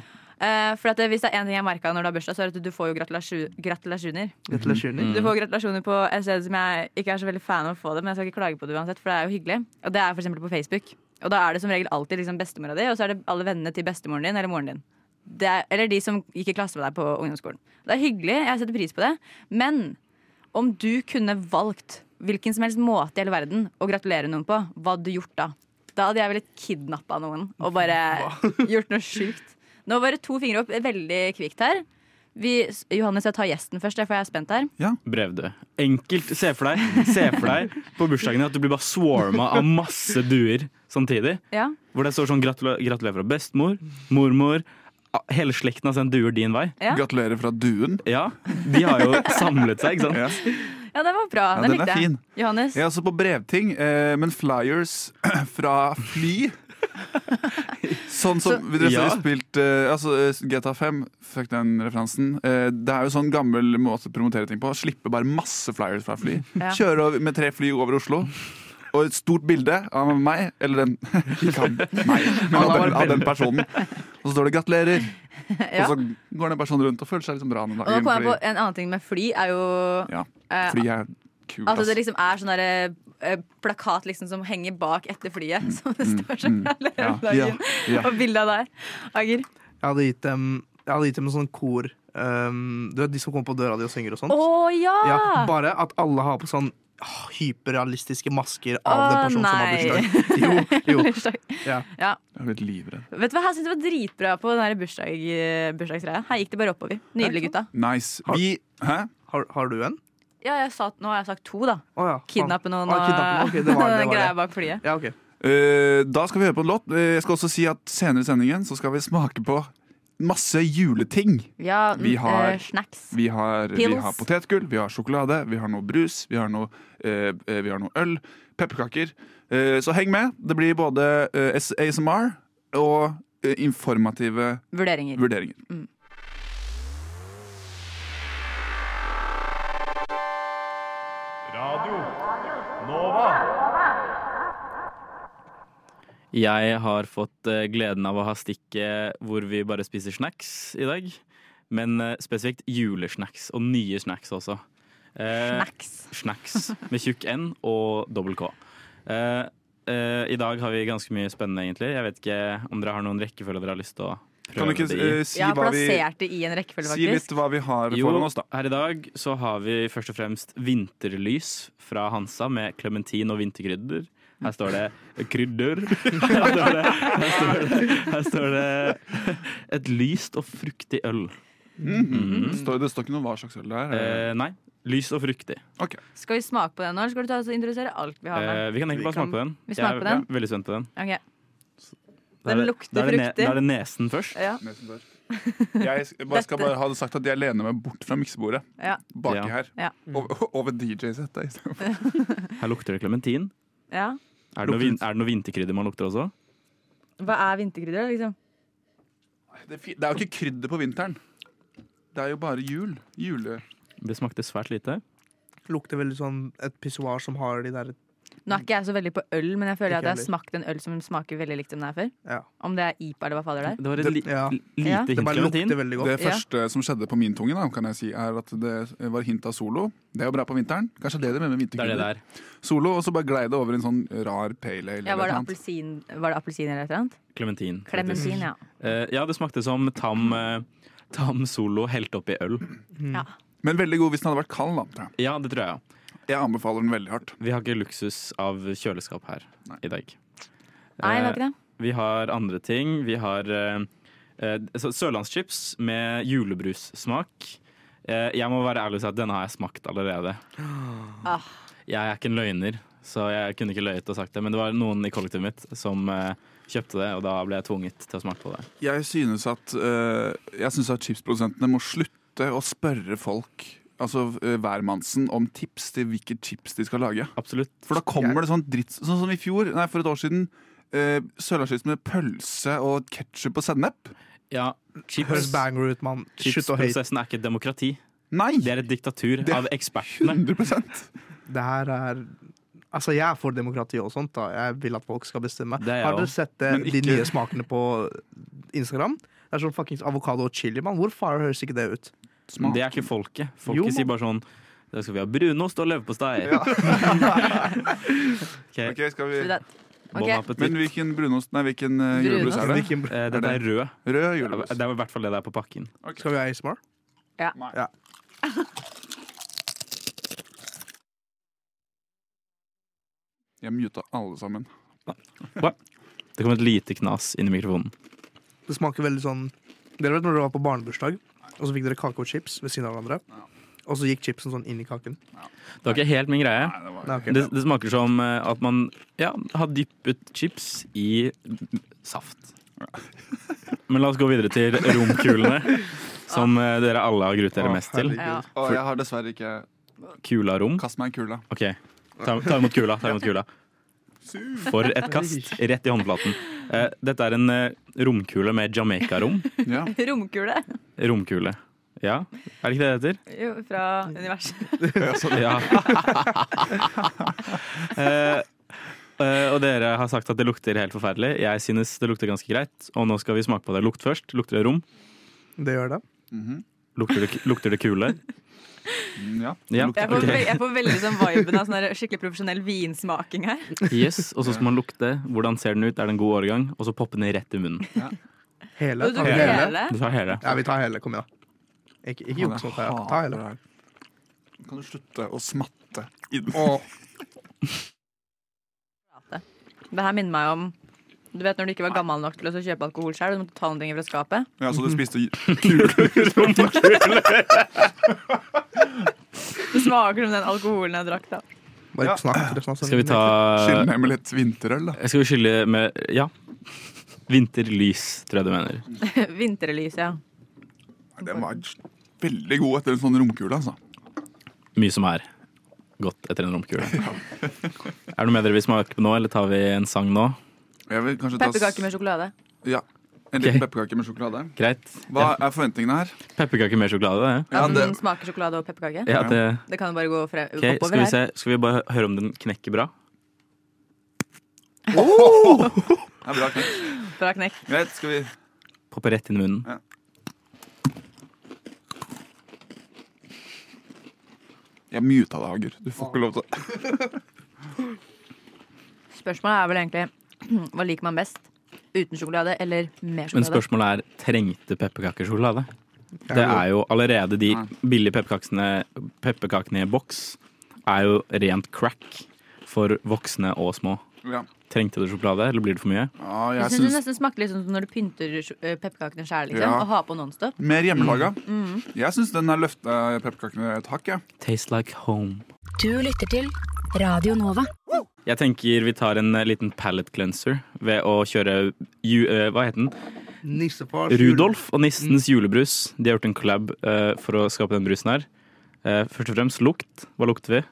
E: Eh, for at det, hvis det er én ting jeg merka når du har bursdag, så er det at du får jo gratulasjon, gratulasjoner.
B: Mhm.
F: Gratulasjoner.
E: Du får gratulasjoner på et sted som jeg ikke er så veldig fan av å få det, men jeg skal ikke klage på det uansett, for det er jo hyggelig. Og det er for eksempel på Facebook. Og da er det som regel alltid liksom bestemora di, og så er det alle vennene til bestemoren din eller moren din. Det er, eller de som gikk i klasse med deg på ungdomsskolen. Det er hyggelig, jeg setter pris på det, men om du kunne valgt hvilken som helst måte i hele verden å gratulere noen på, hva hadde du gjort da? Da hadde jeg villet kidnappa noen og bare gjort noe sjukt. Nå var det to fingre opp veldig kvikt her. Vi, Johannes, jeg tar gjesten først, jeg, for jeg er spent her.
A: Brevdød. Enkelt. Se for deg se for deg på bursdagen din at du blir bare swarma av masse duer samtidig.
E: Ja.
A: Hvor det står sånn gratula- 'gratulerer fra bestemor', 'mormor'. a- Hele slekten har sendt duer din vei.
E: Ja.
B: Gratulerer fra duen.
A: Ja, De har jo samlet seg, ikke sant?
B: Ja.
E: Ja, den var bra.
B: Ja, den
E: den,
B: er
E: likte jeg.
B: fin.
E: Johannes.
B: Jeg er også på brevting, eh, men flyers fra fly Sånn som vi dere
A: Ja.
B: har spilt eh, altså, eh, GTA 5, fuck den referansen. Eh, det er jo sånn gammel måte å promotere ting på. Slippe bare masse flyers fra fly.
E: Ja.
B: Kjøre over, med tre fly over Oslo. Og et stort bilde av meg, eller den Ikke han, meg, men av den, av den personen. Og så står det 'gratulerer',
E: Ja.
B: og så går den personen rundt og føler seg liksom bra den
E: Og nå
B: dagen.
E: kom jeg på
B: Fordi,
E: en annen ting med fly. Er jo
B: ja,
E: eh,
B: fly er kult,
E: at det
B: ass.
E: liksom er sånn derre eh, plakat liksom som henger bak etter flyet, som det står sånn så
B: Mm,
E: jævlig
B: Ja,
E: om dagen.
B: ja, ja.
E: Og bilde av deg. Ager.
F: Jeg hadde gitt dem, jeg hadde gitt dem en sånn kor ehm, Du vet de som kommer på døra di og synger og sånt?
E: Å ja!
F: Ja, bare at alle har på sånn åh, hyperrealistiske masker av
E: Å,
F: den personen som har bursdag. Jo, jo. Ja.
B: Jeg er blitt livredd.
E: Vet du hva, Jeg syns det var dritbra på den her bursdag, eh, bursdagsgreia. Her gikk det bare oppover. Nydelig, gutta.
B: Nice. Vi Hæ?
F: Har, har du en?
E: Ja, jeg sa, nå har jeg sagt to, da.
F: Å ja. faen.
E: Kidnappe noen
F: Å,
E: og
F: kidnappe noen. Ok, det var det, det,
E: greia
F: var det.
E: bak flyet.
F: Ja, ok.
B: Eh, da skal vi høre på en låt. Eh, jeg skal også si at Senere i sendingen så skal vi smake på masse juleting.
E: Ja,
B: Vi har-
E: eh, snacks.
B: Vi har, vi
E: Pils.
B: har potetgull, vi har sjokolade, vi har noe brus, vi har noe, eh, eh, vi har noe øl, pepperkaker. Eh, så heng med. Det blir både eh, S- ASMR og eh, informative
E: Vurderinger.
B: vurderinger.
C: Radio Nova.
A: Jeg har fått eh, gleden av å ha stikket hvor vi bare spiser snacks i dag. Men eh, spesifikt julesnacks, og nye snacks også. Eh,
E: Snacks.
A: snacks med tjukk N og dobbel K. Eh, eh, I dag har vi ganske mye spennende, egentlig. Jeg vet ikke om dere har noen rekkefølge dere har lyst til å
B: Kan
A: prøve
B: du ikke
A: det i.
B: eh, si,
E: Jeg har
B: hva vi,
E: plassert det i en rekkefølge,
B: si litt
E: faktisk.
B: hva vi har
A: Jo,
B: foran oss, da?
A: her i dag så har vi først og fremst vinterlys fra Hansa med klementin og vinterkrydder. Her står det krydder. Her står det, her står det, her står det et lyst og fruktig øl.
B: Det står, det står ikke noe hva slags øl det er. eller?
A: Eh, nei, lyst og fruktig.
B: Ok.
E: Skal vi smake på den nå, eller skal du ta oss og introdusere alt vi har med?
A: Eh, vi kan egentlig
F: Vi
A: bare smake på den.
E: vi smaker
A: Jeg
E: på
A: er
E: den.
A: veldig spent på
F: Eh.
A: den. Da
E: Ok.
A: er
E: Den
A: det-
E: lukter
A: da er det ne-
E: fruktig.
A: Da er det nesen først.
E: Ja,
B: Nesen først. Jeg s- bare skal bare ha det sagt at jeg lener meg bort fra miksebordet.
E: ja,
B: Baki
A: Ja.
B: her.
E: Ja.
B: Over, over DJ-settet. i stedet for.
A: Her lukter det klementin.
E: ja.
A: Er, det noe
B: Lukter-
A: vin- er det noe vinterkrydder man lukter også?
E: Hva er vinterkrydder, liksom?
B: Det, er fi- det er jo ikke krydder på vinteren. Det er jo bare jul. Jule...
A: Det smakte svært lite.
F: Lukter veldig sånn et pissoar som har de der
E: Nå er ikke jeg så veldig på øl, men jeg føler
F: Ikke
E: at jeg har
F: heller.
E: smakt en øl som smaker veldig likt som den her før.
F: Ja.
E: Om det er IPA eller hva fader det er.
A: Det var et
B: Det-
A: li
F: ja.
A: lite
E: Ja.
A: hint
F: Det bare
A: klementin.
F: lukter veldig godt.
B: Det
E: Ja.
B: første som skjedde på min tunge, da, kan jeg si, er at det var hint av solo. Det er jo bra på vinteren. Kanskje det er det med, med
A: Det er det
B: vinterkrydder.
A: der.
B: Solo, og så bare glei det over en sånn rar pale ale.
E: Ja,
B: eller
E: var,
B: noe
E: det
B: annet.
E: appelsin, var det appelsin eller et eller annet?
A: Klementin. faktisk.
E: Klementin, ja.
A: Eh, ja, det smakte som tam, eh, tam solo helt oppi øl.
B: Men veldig god hvis den hadde vært kald. da, tror jeg.
A: Ja, det tror jeg. ja.
B: Jeg anbefaler den veldig hardt.
A: Vi har ikke luksus av kjøleskap her
B: Nei.
A: i dag.
E: Nei, det var
A: Eh,
E: ikke det.
A: vi har andre ting. Vi har eh, eh, så- sørlandschips med julebrussmak. Eh, jeg må være ærlig og si at denne har jeg smakt allerede.
E: Ah.
A: Jeg er ikke en løgner, så jeg kunne ikke løyet og sagt det. Men det var noen i kollektivet mitt som eh, kjøpte det, og da ble jeg tvunget til å smake på det.
B: Jeg synes at, eh, jeg synes at chipsprodusentene må slutte å spørre folk, altså eh, hvermannsen, om tips til hvilket chips de skal lage.
A: Absolutt.
B: For da kommer det sånn dritt Sånn som i fjor, nei, for et år siden. Uh, Sørlandschips med pølse og ketsjup og sennep.
A: Ja,
F: Høres
A: chips.
F: banger ut, mann. Slutt å hate.
A: Chipsprosessen er ikke et demokrati.
B: Nei!
A: Det er et diktatur
B: Det-
A: av ekspertene.
B: 100
F: Det her er Altså, jeg er for demokrati og sånt. da Jeg vil at folk skal bestemme.
A: Det er jeg
F: Har dere
A: også.
F: sett eh,
B: Men
F: de
B: ikke-
F: nye smakene på Instagram? Det er sånn fuckings avokado og chili, mann. Hvor far høres ikke det ut?
B: Smak.
A: Det er ikke folket.
F: Jo,
A: Folket
F: man-
A: sier bare sånn Da skal vi ha brunost og leverpostei. Ok,
B: Ok, skal vi...
E: Fordi det-
A: Bon
E: Ok.
A: appétit.
B: Men hvilken brunost Nei, hvilken eh, julebrus er det?
F: Hvilken-
A: Eh, Dette er rød.
B: Rød julebrus.
A: Det er i hvert fall det det er på pakken.
F: Skal vi ha ASMR?
E: Ja.
B: Nei.
F: ja.
B: Jeg muta alle sammen.
A: Det kom et lite knas inn i mikrofonen.
F: Det smaker veldig sånn Dere vet når dere var på barnebursdag, og så fikk dere kake og chips ved siden av hverandre. Og så gikk chipsen sånn inn i kaken.
A: Det var ikke helt min greie.
B: Nei, det var
F: Nei, ok.
A: Det, det smaker som eh, at man ja, har dyppet chips i saft. Men la oss gå videre til romkulene, som eh, dere alle har gruet dere
F: Å,
A: mest til.
F: herregud.
E: Ja.
B: Å, jeg har dessverre ikke
A: Kula rom.
B: Kast meg en kule.
A: OK, ta, ta imot kula. Ta imot kula. For et kast. Rett i håndflaten. Eh, dette er en eh, romkule med Jamaica-rom.
B: Ja.
E: Romkule
A: Romkule. Ja, er det ikke det det heter?
E: jo, fra universet.
A: Ja. Eh, eh, og dere har sagt at det lukter helt forferdelig. Jeg synes det lukter ganske greit. Og nå skal vi smake på det. Lukt først. Lukter det rom?
F: Det gjør det.
A: Lukter det, lukter det kule?
B: mhm, Mm, ja.
A: Ja.
E: Jeg får,
A: ok.
E: ve- jeg får veldig sånn viben av sånn der skikkelig profesjonell vinsmaking her.
A: Yes, Og så skal man lukte. Hvordan ser den ut? Er det en god årgang? Og så poppe den rett i munnen.
F: Hele.
E: Og du
F: tar vi hele?
E: hele?
A: Du tar hele.
F: Ja, vi tar hele. Kom igjen. da. Ikke, ikke juks mot deg. Ta hele.
B: Kan du slutte å smatte? i den?
E: Det her minner meg om du vet når du ikke var gammel nok til å kjøpe alkohol selv, du måtte ta noen ting fra skapet.
B: Ja, så du spiste
E: Det smaker som den alkoholen jeg drakk da.
F: Bare ikke snakk. dere snakker sånn.
A: Skal vi ta
B: Skyll ned med litt vinterøl, da.
A: Skal vi skylle med Ja. Vinterlys, tror jeg du mener.
E: Vinterlys, ja.
B: Nei, Den var veldig god etter en sånn romkule, altså.
A: Mye som er godt etter en romkule. Er det noe mer dere vil smake på nå, eller tar vi en sang nå?
B: Jeg vil kanskje ta s-
E: Pepperkaker med sjokolade.
B: Ja. En liten pepperkake med sjokolade.
A: Greit.
B: Hva er forventningene her?
A: Pepperkaker med sjokolade, det.
E: Ja,
B: Ja, det,
E: den smaker sjokolade og pepperkake.
A: Ja, det
E: Det kan jo bare gå fre
A: Ok, skal,
E: oppover
A: vi
E: her.
A: se. skal vi bare hø- høre om den knekker bra?
B: Det er bra knekk.
E: Bra knekk.
B: Greit, skal vi
A: Popper rett inn i munnen.
B: Ja. Jeg muta deg, Hager. Du får ikke lov til å
E: Spørsmålet er vel egentlig hva liker man best? Uten sjokolade eller med
A: Men
E: sjokolade?
A: spørsmålet er trengte pepperkaker sjokolade? Det
F: jo-
A: er jo allerede de
B: Nei.
A: billige pepperkakene, pepperkakene i boks er jo rent crack for voksne og små.
B: ja.
A: Trengte du sjokolade, eller blir det for mye?
B: ja,
E: Jeg
B: jeg
E: syns det
B: syns
E: nesten smakte litt sånn som når du pynter sj- eh, pepperkakene sjæl liksom,
B: Ja.
E: og har på Nonstop.
B: Mer hjemmelaga.
E: Mm.
B: Jeg syns den har løfta pepperkakene et hakk, jeg.
A: Taste like home.
H: Du lytter til Radio Nova.
A: Jeg tenker vi tar en eh, liten palate cleanser ved å kjøre ju, eh, Hva heter den?
F: Nissefars
A: Rudolf og Nissens
F: Mm.
A: julebrus. De har gjort en collab eh, for å skape den brusen her. Eh, først og fremst lukt. Hva lukter vi?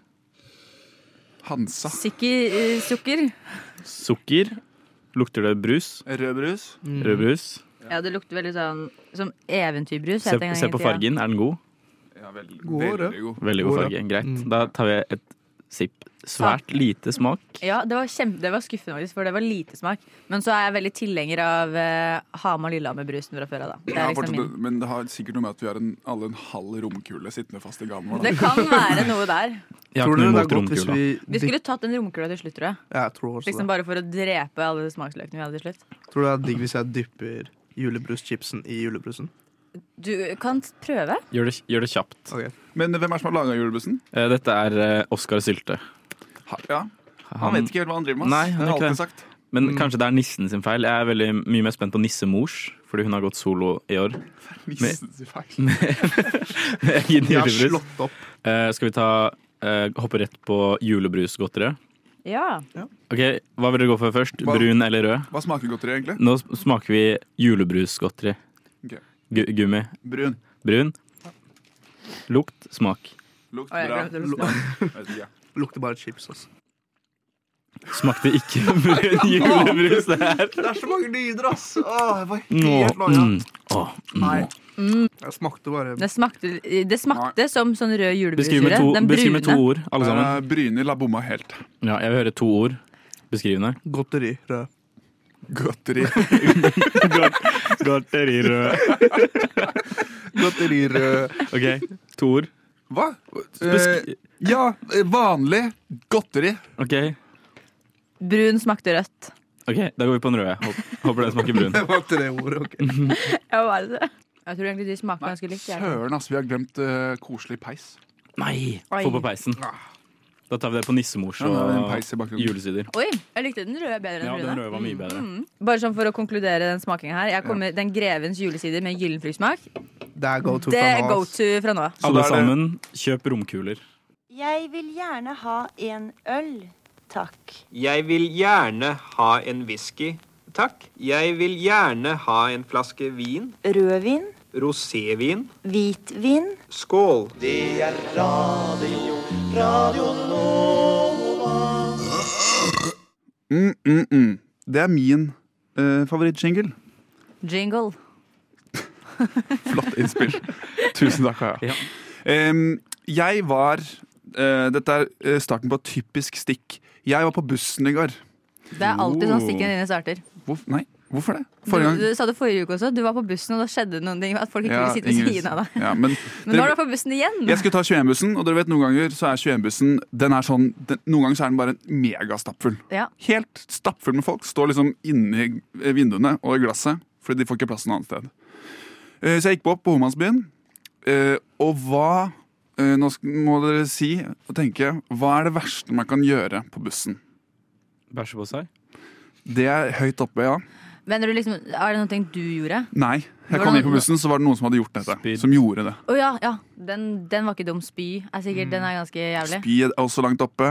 B: Hansa.
E: Sikker eh, sukker.
A: Sukker. Lukter det brus?
B: Rød brus.
F: Mm.
A: Rød brus.
E: Ja, det lukter veldig sånn som eventyrbrus.
A: Se,
E: het det en gang
A: se
E: i
A: på
E: tida.
A: fargen. Er den god?
B: Ja, veldig,
F: God,
B: veldig god.
A: Veldig god
F: God,
A: farge. Greit.
F: Mm.
A: Da tar vi et sipp. Svært lite smak.
E: Ja, det var, kjempe, det var skuffende, faktisk, for det var lite smak. Men så er jeg veldig tilhenger av eh, Hamar-Lillehammer-brusen fra før av, da. Det,
B: Jeg
E: er
B: har
E: liksom
B: fortsatt,
E: min.
B: men det har sikkert noe med at vi har en, alle en halv romkule sittende fast i ganen vår. da.
E: det kan være noe der.
A: Jeg har ikke
F: Tror dere
A: noe
F: det er
A: imot
F: godt hvis
A: romkula.
F: vi
E: Vi skulle tatt den romkula til slutt, tror jeg.
F: dypp- Ja, jeg tror også
E: Liksom Bare for å drepe alle smaksløkene vi hadde til slutt.
F: det. Tror du det er digg hvis jeg dypper julebruschipsen i julebrusen?
E: Du kan prøve.
A: Gjør det, gjør det kjapt.
F: Ok.
B: Men hvem er det som har laga julebrussen?
A: Eh, Dette er eh, Oskar Sylte.
B: Ha, ja. Han,
A: Han-
B: vet ikke helt hva han driver med. ass.
A: Nei, han
B: det
A: gjør
B: har
A: ikke
B: alltid sagt.
A: Men kanskje det er nissen sin feil. Jeg er veldig mye mer spent på nissemors, fordi hun har gått solo i år.
B: Nissen sin feil.
A: Med egen
F: Jeg har
A: julebrus.
F: slått opp.
A: Eh, Skal vi ta eh, hoppe rett på julebrusgodteri?
E: Ja.
A: Ok, Hva vil dere gå for først?
B: Hva-
A: Brun eller rød?
B: Hva smaker godteri, egentlig?
A: Nå s- smaker vi julebrusgodteri.
B: Ok.
A: Gu- Gummi.
B: Brun.
A: Brun. Lukt. Smak.
B: Lukt
E: Å, jeg
B: bra.
E: glemte å lukte.
B: Jeg vet ikke.
F: Lukter bare chips. Altså.
A: Smakte ikke brun julebrus, det her.
F: Det er så mange lyder, ass! Åh, jeg var
A: Nå,
F: helt laga.
A: mm, åh, mm.
F: Nei. Jeg smakte bare
E: Det smakte, det smakte som sånn rød
A: Beskriv med,
E: julebrussyre.
A: to,
E: Den
A: beskriv med to
E: brune.
A: ord, alle sammen.
B: Eh, Bryner la bomma helt.
A: Ja, jeg vil høre to ord. Beskrivende.
F: godteri rød.
B: Godteri.
A: Garterirød.
F: Godteri rød.
A: OK, to ord.
B: Hva?
A: Besk-
B: Eh, ja, eh, vanlig godteri.
A: OK,
E: Brun smakte rødt.
A: ok, da går vi på den røde. Håp- Håper den smaker brun.
F: Det var tre ord. ok.
E: Ja, hva er det? Jeg tror egentlig de smaker ganske likt. jeg.
B: Søren, ass, vi har glemt eh, koselig peis.
A: Nei!
E: Oi.
A: Få på peisen. Da tar vi det på nissemors
B: Ah. Ja, nå er det en peis i
A: og
B: bakgrunnen.
A: julesider.
E: Oi, jeg likte den røde bedre enn
A: Ja,
E: den
A: den
E: brune.
A: røde var mye bedre.
B: Mm.
E: Bare sånn for å konkludere den smakingen her. Jeg kommer, Den grevens julesider med gyllenfruktsmak,
F: Det er go to
E: det
F: fra
E: er go
F: nå. ass.
E: to fra nå av.
B: Så da
A: Alle
B: er det-
A: sammen, kjøp romkuler.
I: Jeg vil gjerne ha en øl, takk.
J: Jeg vil gjerne ha en whisky, takk. Jeg vil gjerne ha en flaske vin,
I: Rødvin,
J: rosévin.
I: hvitvin.
J: Skål!
B: Mm, mm, mm. Det er min uh, favorittjingle.
E: Jingle.
B: Flott innspill. Tusen takk, Kaja.
A: Ja.
B: Em, jeg var eh, Dette er eh, starten på et typisk stikk. Jeg var på bussen i går.
E: Det er alltid sånn stikken dine starter.
B: Hvorf nei, hvorfor det?
E: Du,
B: Forrige
E: du
B: gang.
E: sa det forrige uke også. Du var på bussen, og da skjedde noen ting. At folk ikke ville sitte ved
B: Ingrid-
E: siden av deg.
B: Ja, men
E: Men nå er du på bussen igjen.
B: Jeg skulle ta 21-bussen, og dere vet noen ganger så er 21-bussen den er sånn, den, Noen ganger så er den bare megastappfull.
E: Ja.
B: Helt stappfull med folk. Står liksom inni eh, vinduene og i glasset, fordi de får ikke plass noe annet sted. Eh, Så jeg gikk på opp på Homansbyen, eh, og hva eh, Nå sk- må dere si og tenke Hva er det verste man kan gjøre på bussen?
A: Bæsje på seg.
B: Det er høyt oppe, ja.
E: Mener du liksom, Er det noe du gjorde?
B: Nei. Jeg kom inn på bussen, så var det noen som hadde gjort dette.
A: Spyd.
B: Som gjorde det.
E: Å ja, ja. Den, den var ikke dum. Spy er sikkert Den er ganspy jævlig.
B: Mm. Spy er også langt oppe.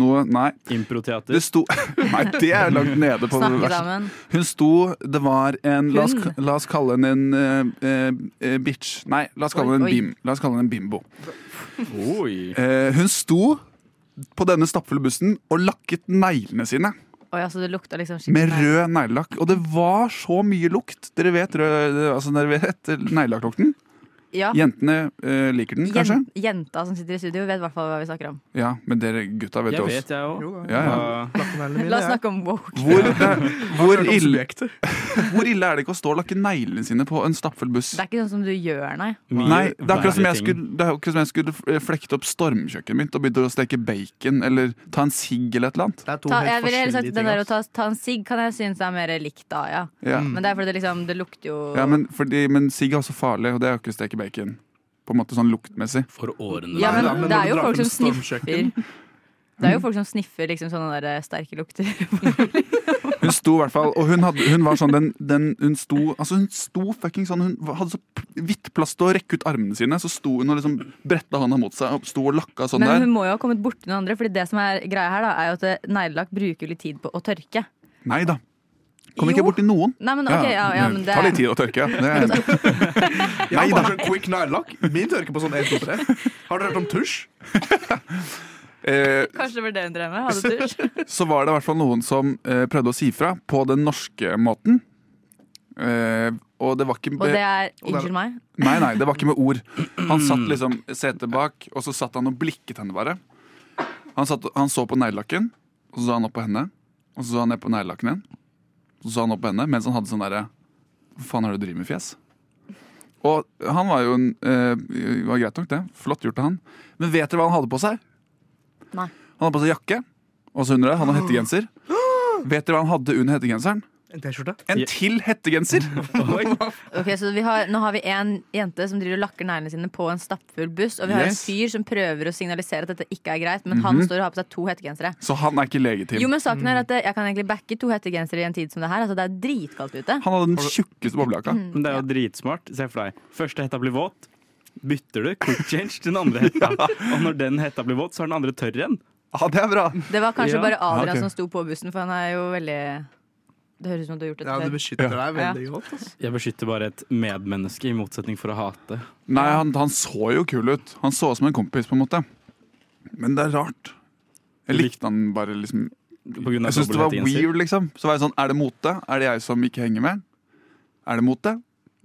B: Noe Nei. Det
A: Improteater.
B: sto Nei, det er langt nede på det
E: Snakke
B: verste.
E: sammen.
B: Hun sto Det var en la oss,
E: Hun?
B: la oss kalle henne en eh, eh, bitch. Nei, la oss kalle
E: Oi,
B: henne en,
E: oi.
B: bim, la oss kalle henne en bimbo.
A: Oi.
B: Eh, hun sto på denne stappfulle bussen og lakket neglene sine
E: Å ja, så det lukta liksom
B: med
E: skikkelig
B: rød neglelakk. Og det var så mye lukt. Dere vet, rød, altså, dere vet eh, neglelakklukten?
E: Ja.
B: Jentene eh, liker den, kanskje?
E: Jen- Jenta som sitter i studio, vet i hvert fall hva vi snakker om.
B: Ja, men dere gutta vet
A: Jeg
B: jo også.
A: vet, jeg
F: Jo
A: òg.
F: da.
B: Ja, ja.
E: La oss snakke om woke.
B: Hvor, hvor, ille,
F: Objekter.
B: hvor ille er det ikke å stå og lakke neglene sine på en stappfull buss?
E: Det er ikke sånn som du gjør, nei.
B: Nei, det er akkurat som jeg skulle, det er akkurat som jeg skulle flekte opp stormkjøkkenet mitt og begynne å steke bacon eller ta en sigg eller et eller annet.
F: Det er to
E: Ta,
F: helt
E: jeg ville heller sagt
F: forskjellige
E: den
F: ting,
E: der å
F: ass.
E: ta, ta en sigg kan jeg synes er mer likt da, ja.
B: Ja.
E: Men det er fordi det liksom, det lukter jo
B: Mm. Ja, men, fordi, men sigg er også farlig, og det er jo ikke å steke bacon. På en måte sånn luktmessig.
A: For årene
E: Ja,
A: der.
E: men
F: Nei, men
E: det
F: når
E: er
F: du
E: jo
F: drar
E: folk
F: frem
E: som sniffer.
F: stormkjøkken.
E: Det er jo folk som sniffer liksom sånne der sterke lukter.
B: Hun sto i hvert fall, og hun, hadde, hun var sånn den, den Hun sto altså hun sto fucking sånn Hun hadde så p- vidt plass til å rekke ut armene sine, så sto hun og liksom bretta hånda mot seg og sto og lakka sånn
E: Men
B: der.
E: hun må jo ha kommet borti noen andre, Fordi det som er greia her, da, er jo at eh, neglelakk bruker litt tid på å tørke.
B: Nei da. Kom
E: Jo.
B: ikke borti noen.
E: Nei, men ok, ja, ja, men det
B: Ta litt tid å tørke. ja. Det er,
F: Jeg har bare sånn quick nylakk. Min tørker på sånn 1, 2, 3. Har dere hørt om tusj?
B: eh,
E: Kanskje det var det hun drev med? Hadde tusj?
B: så var det i hvert fall noen som eh, prøvde å si fra på den norske måten. Eh, og det var ikke
E: Og det er Unnskyld meg.
B: Nei, nei, det var ikke med ord. Han satt liksom setet bak, og så satt han og blikket henne bare. Han, satt, han så på neglelakken, og så så han opp på henne. Og så så han ned på neglelakken igjen. Så så han opp på henne mens han hadde sånn derre Hva faen er det du driver med, fjes? Og han var jo en eh, var Greit nok, det. Flott gjort av han. Men vet dere hva han hadde på seg?
E: Nei.
B: Han hadde på seg jakke. Og så under det, han hadde hettegenser. Vet dere hva han hadde under hettegenseren?
F: En T-skjorte?
B: En til hettegenser!
E: Ok, så vi har, Nå har vi en jente som driver og lakker neglene sine på en stappfull buss. Og vi har
B: Yes.
E: en fyr som prøver å signalisere at dette ikke er greit, men han står og har på seg to hettegensere.
B: Så han er ikke legitim.
E: Jo, men saken er at eh, Jeg kan egentlig backe to hettegensere i en tid som det her. Altså, Det er dritkaldt ute.
B: Han hadde den tjukkeste boblejakka.
A: Men det er jo dritsmart. Se for deg. Første hetta blir våt. Bytter du quick change til den andre hetta. Og når den hetta blir våt, så er den andre tørr igjen.
B: Ja, det er bra!
E: Det var kanskje
A: Ja.
E: bare Adrian
B: Ja, ok.
E: som sto på bussen, for han er jo veldig Det høres ut som du har gjort
F: Ja,
E: det
F: du
E: før.
F: beskytter deg
E: Ja.
F: veldig godt. altså. ass.
A: Jeg beskytter bare et medmenneske, i motsetning for å hate.
B: Nei, han, han så jo kul ut. Han så ut som en kompis, på en måte. Men det er rart. Jeg likte han bare liksom
A: På grunn av
B: Jeg syntes det var
A: dobbelthettegenser.
B: weird, liksom. Så var jeg sånn, er det mote? Er det jeg som ikke henger med? Er det mote?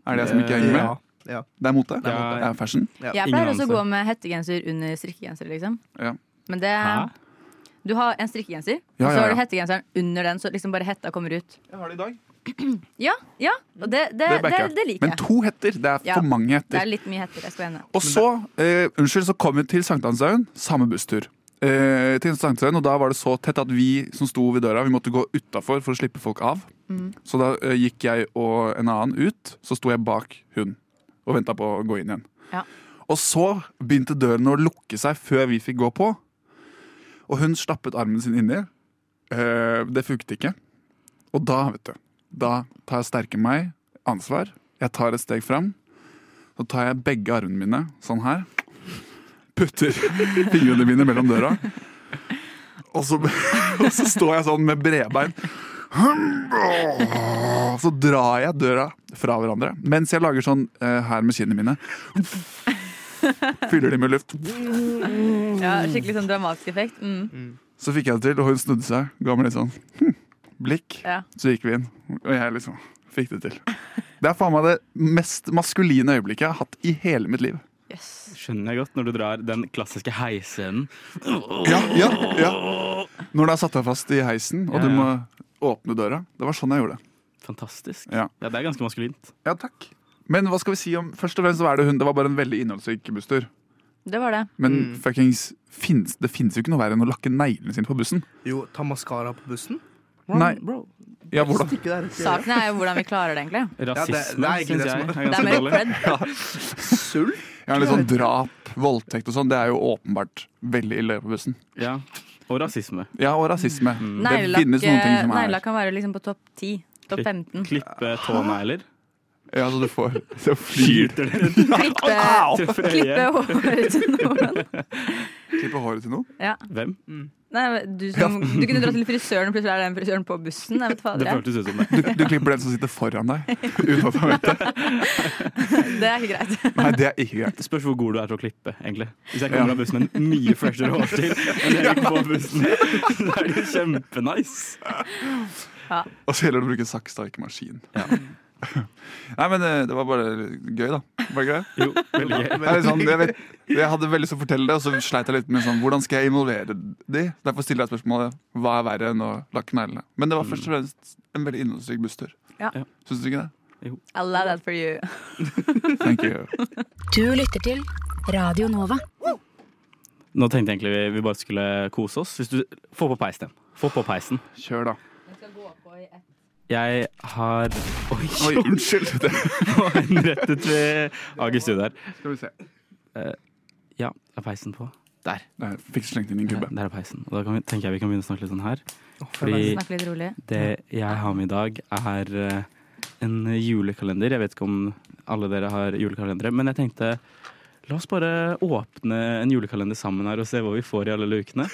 B: Er det jeg som ikke henger
F: Ja.
B: med? Det er mote? Det
A: Ja.
B: er fashion?
E: Jeg
A: Ingen
E: pleier også å
A: anelse.
E: gå med hettegenser under strikkegenser, liksom.
B: Ja.
E: Men det
A: Hæ?
E: Du har en strikkegenser,
B: Ja,
E: og så
B: ja,
E: har
B: ja.
E: du hettegenseren under den, så liksom bare hetta kommer ut.
B: Jeg har det i dag.
E: Ja, ja, og
B: Det
E: det, det, det, det,
B: backer jeg.
E: liker
B: Men
E: jeg.
B: to hetter, det er
E: Ja.
B: for mange
E: Det er
B: hetter.
E: litt mye hetter. Jeg skal være enig.
B: Og så, eh, unnskyld, så kom vi til Sankthanshaugen. Samme busstur. Eh, til Sankthanshaugen, og da var det så tett at vi som sto ved døra, vi måtte gå utafor for å slippe folk av. Så da eh, gikk jeg og en annen ut, så sto jeg bak hun og venta på å gå inn igjen.
E: Ja.
B: Og så begynte dørene å lukke seg før vi fikk gå på. Og hun stappet armen sin inni. Eh, det funket ikke. Og da, vet du, da tar jeg sterke meg ansvar. Jeg tar et steg fram. Så tar jeg begge armene mine sånn her. Putter fingrene mine mellom døra. Og så, og så står jeg sånn med bredbein. Så drar jeg døra fra hverandre mens jeg lager sånn eh, her med kinnene mine. Fyller de med luft.
E: Ja, skikkelig sånn dramatisk effekt. Mm,
B: Så fikk jeg det til, og hun snudde seg. Ga meg litt sånn hm, blikk.
E: ja.
B: Så gikk vi inn, og jeg liksom fikk det til. Det er faen meg det mest maskuline øyeblikket jeg har hatt i hele mitt liv.
E: Yes.
A: Skjønner jeg godt når du drar den klassiske heisscenen.
B: Ja, ja, ja. Når du har satt deg fast i heisen, og
A: Ja,
B: du
A: ja.
B: må åpne døra. Det var sånn jeg gjorde det.
A: Fantastisk.
B: Ja.
A: Ja. det er ganske maskulint.
B: Ja, takk. Men hva skal vi si om Først og fremst så er det hun. Det var bare en veldig innholdsrik busstur.
E: Det var det.
B: Men
F: Mm.
B: fuckings, finnes, det fins jo ikke noe verre enn å lakke neglene sine på bussen.
F: Jo, ta maskara på bussen?
B: Nei.
F: Bro,
B: Ja, hvordan?
F: Stikke deg rett i øret.
E: Saken er jo hvordan vi klarer det, egentlig.
A: Rasisme,
F: det- det er egentlig
A: syns
F: det
A: jeg er
F: som er-
E: Det
A: ganske
E: er mer
A: dårlig.
E: cred.
F: Sull?
B: Ja, litt sånn drap, voldtekt og sånn. Det er jo åpenbart veldig ille på bussen.
A: Ja. Og rasisme.
B: Ja, og rasisme.
E: Mm.
B: Det
E: Neglelakk
B: finnes noen ting som er
E: neglelakk kan være liksom på topp 10. Topp 15.
A: Klippe tånegler.
B: Ja, så du får Så flyr
E: Klippe,
A: Treffer
E: klippe
A: øyet.
E: håret eh, til noen.
B: Klipper håret til noen.
E: Ja.
A: Hvem?
E: Nei, men du, som, du kunne dra til frisøren, og plutselig er det en frisøren på bussen. Jeg vet fader,
A: Det
E: jeg.
A: føltes ut som det.
B: Du, du klipper den som sitter foran deg. Uten at han vet det.
E: Det er ikke greit.
B: Nei, det er ikke greit.
A: Det spørs hvor god du er til å klippe, egentlig. Hvis jeg kommer av bussen med en mye freshere hårstil enn jeg gikk på bussen, så er det jo kjempenice.
B: Og så gjelder det å bruke saks, da, ikke maskin. Nei, men eh, det var bare gøy, da. Var det ikke det?
A: Jo, veldig gøy.
B: Det er litt sånn, jeg, vet, jeg hadde veldig lyst til å fortelle det, og så sleit jeg litt med sånn, hvordan skal jeg involvere de? Derfor stiller jeg spørsmålet hva er verre enn å lakke neglene. Men det var først og fremst en veldig innholdsrik busstur.
E: Ja.
A: Ja.
B: Syns du ikke det?
E: I love that for you.
B: Thank you.
H: Du lytter til Radio Nova.
A: Nå tenkte jeg egentlig vi, vi bare skulle kose oss. Hvis du Få på peisen. Få på peisen.
B: Kjør, da.
A: Jeg har Oi,
B: Oi, unnskyld. Det.
A: rettet ved Ager Studio her.
B: Skal vi se.
A: Ja, er peisen på? Der.
B: Der fikk slengt inn i en
A: Der,
B: kubbe.
A: der er peisen. Og da kan vi, tenker jeg vi kan begynne å snakke litt sånn her. Fordi
E: Snakk litt rolig.
A: det jeg har med i dag, er eh, en julekalender. Jeg vet ikke om alle dere har julekalendere, men jeg tenkte La oss bare åpne en julekalender sammen her og se hva vi får i alle lukene.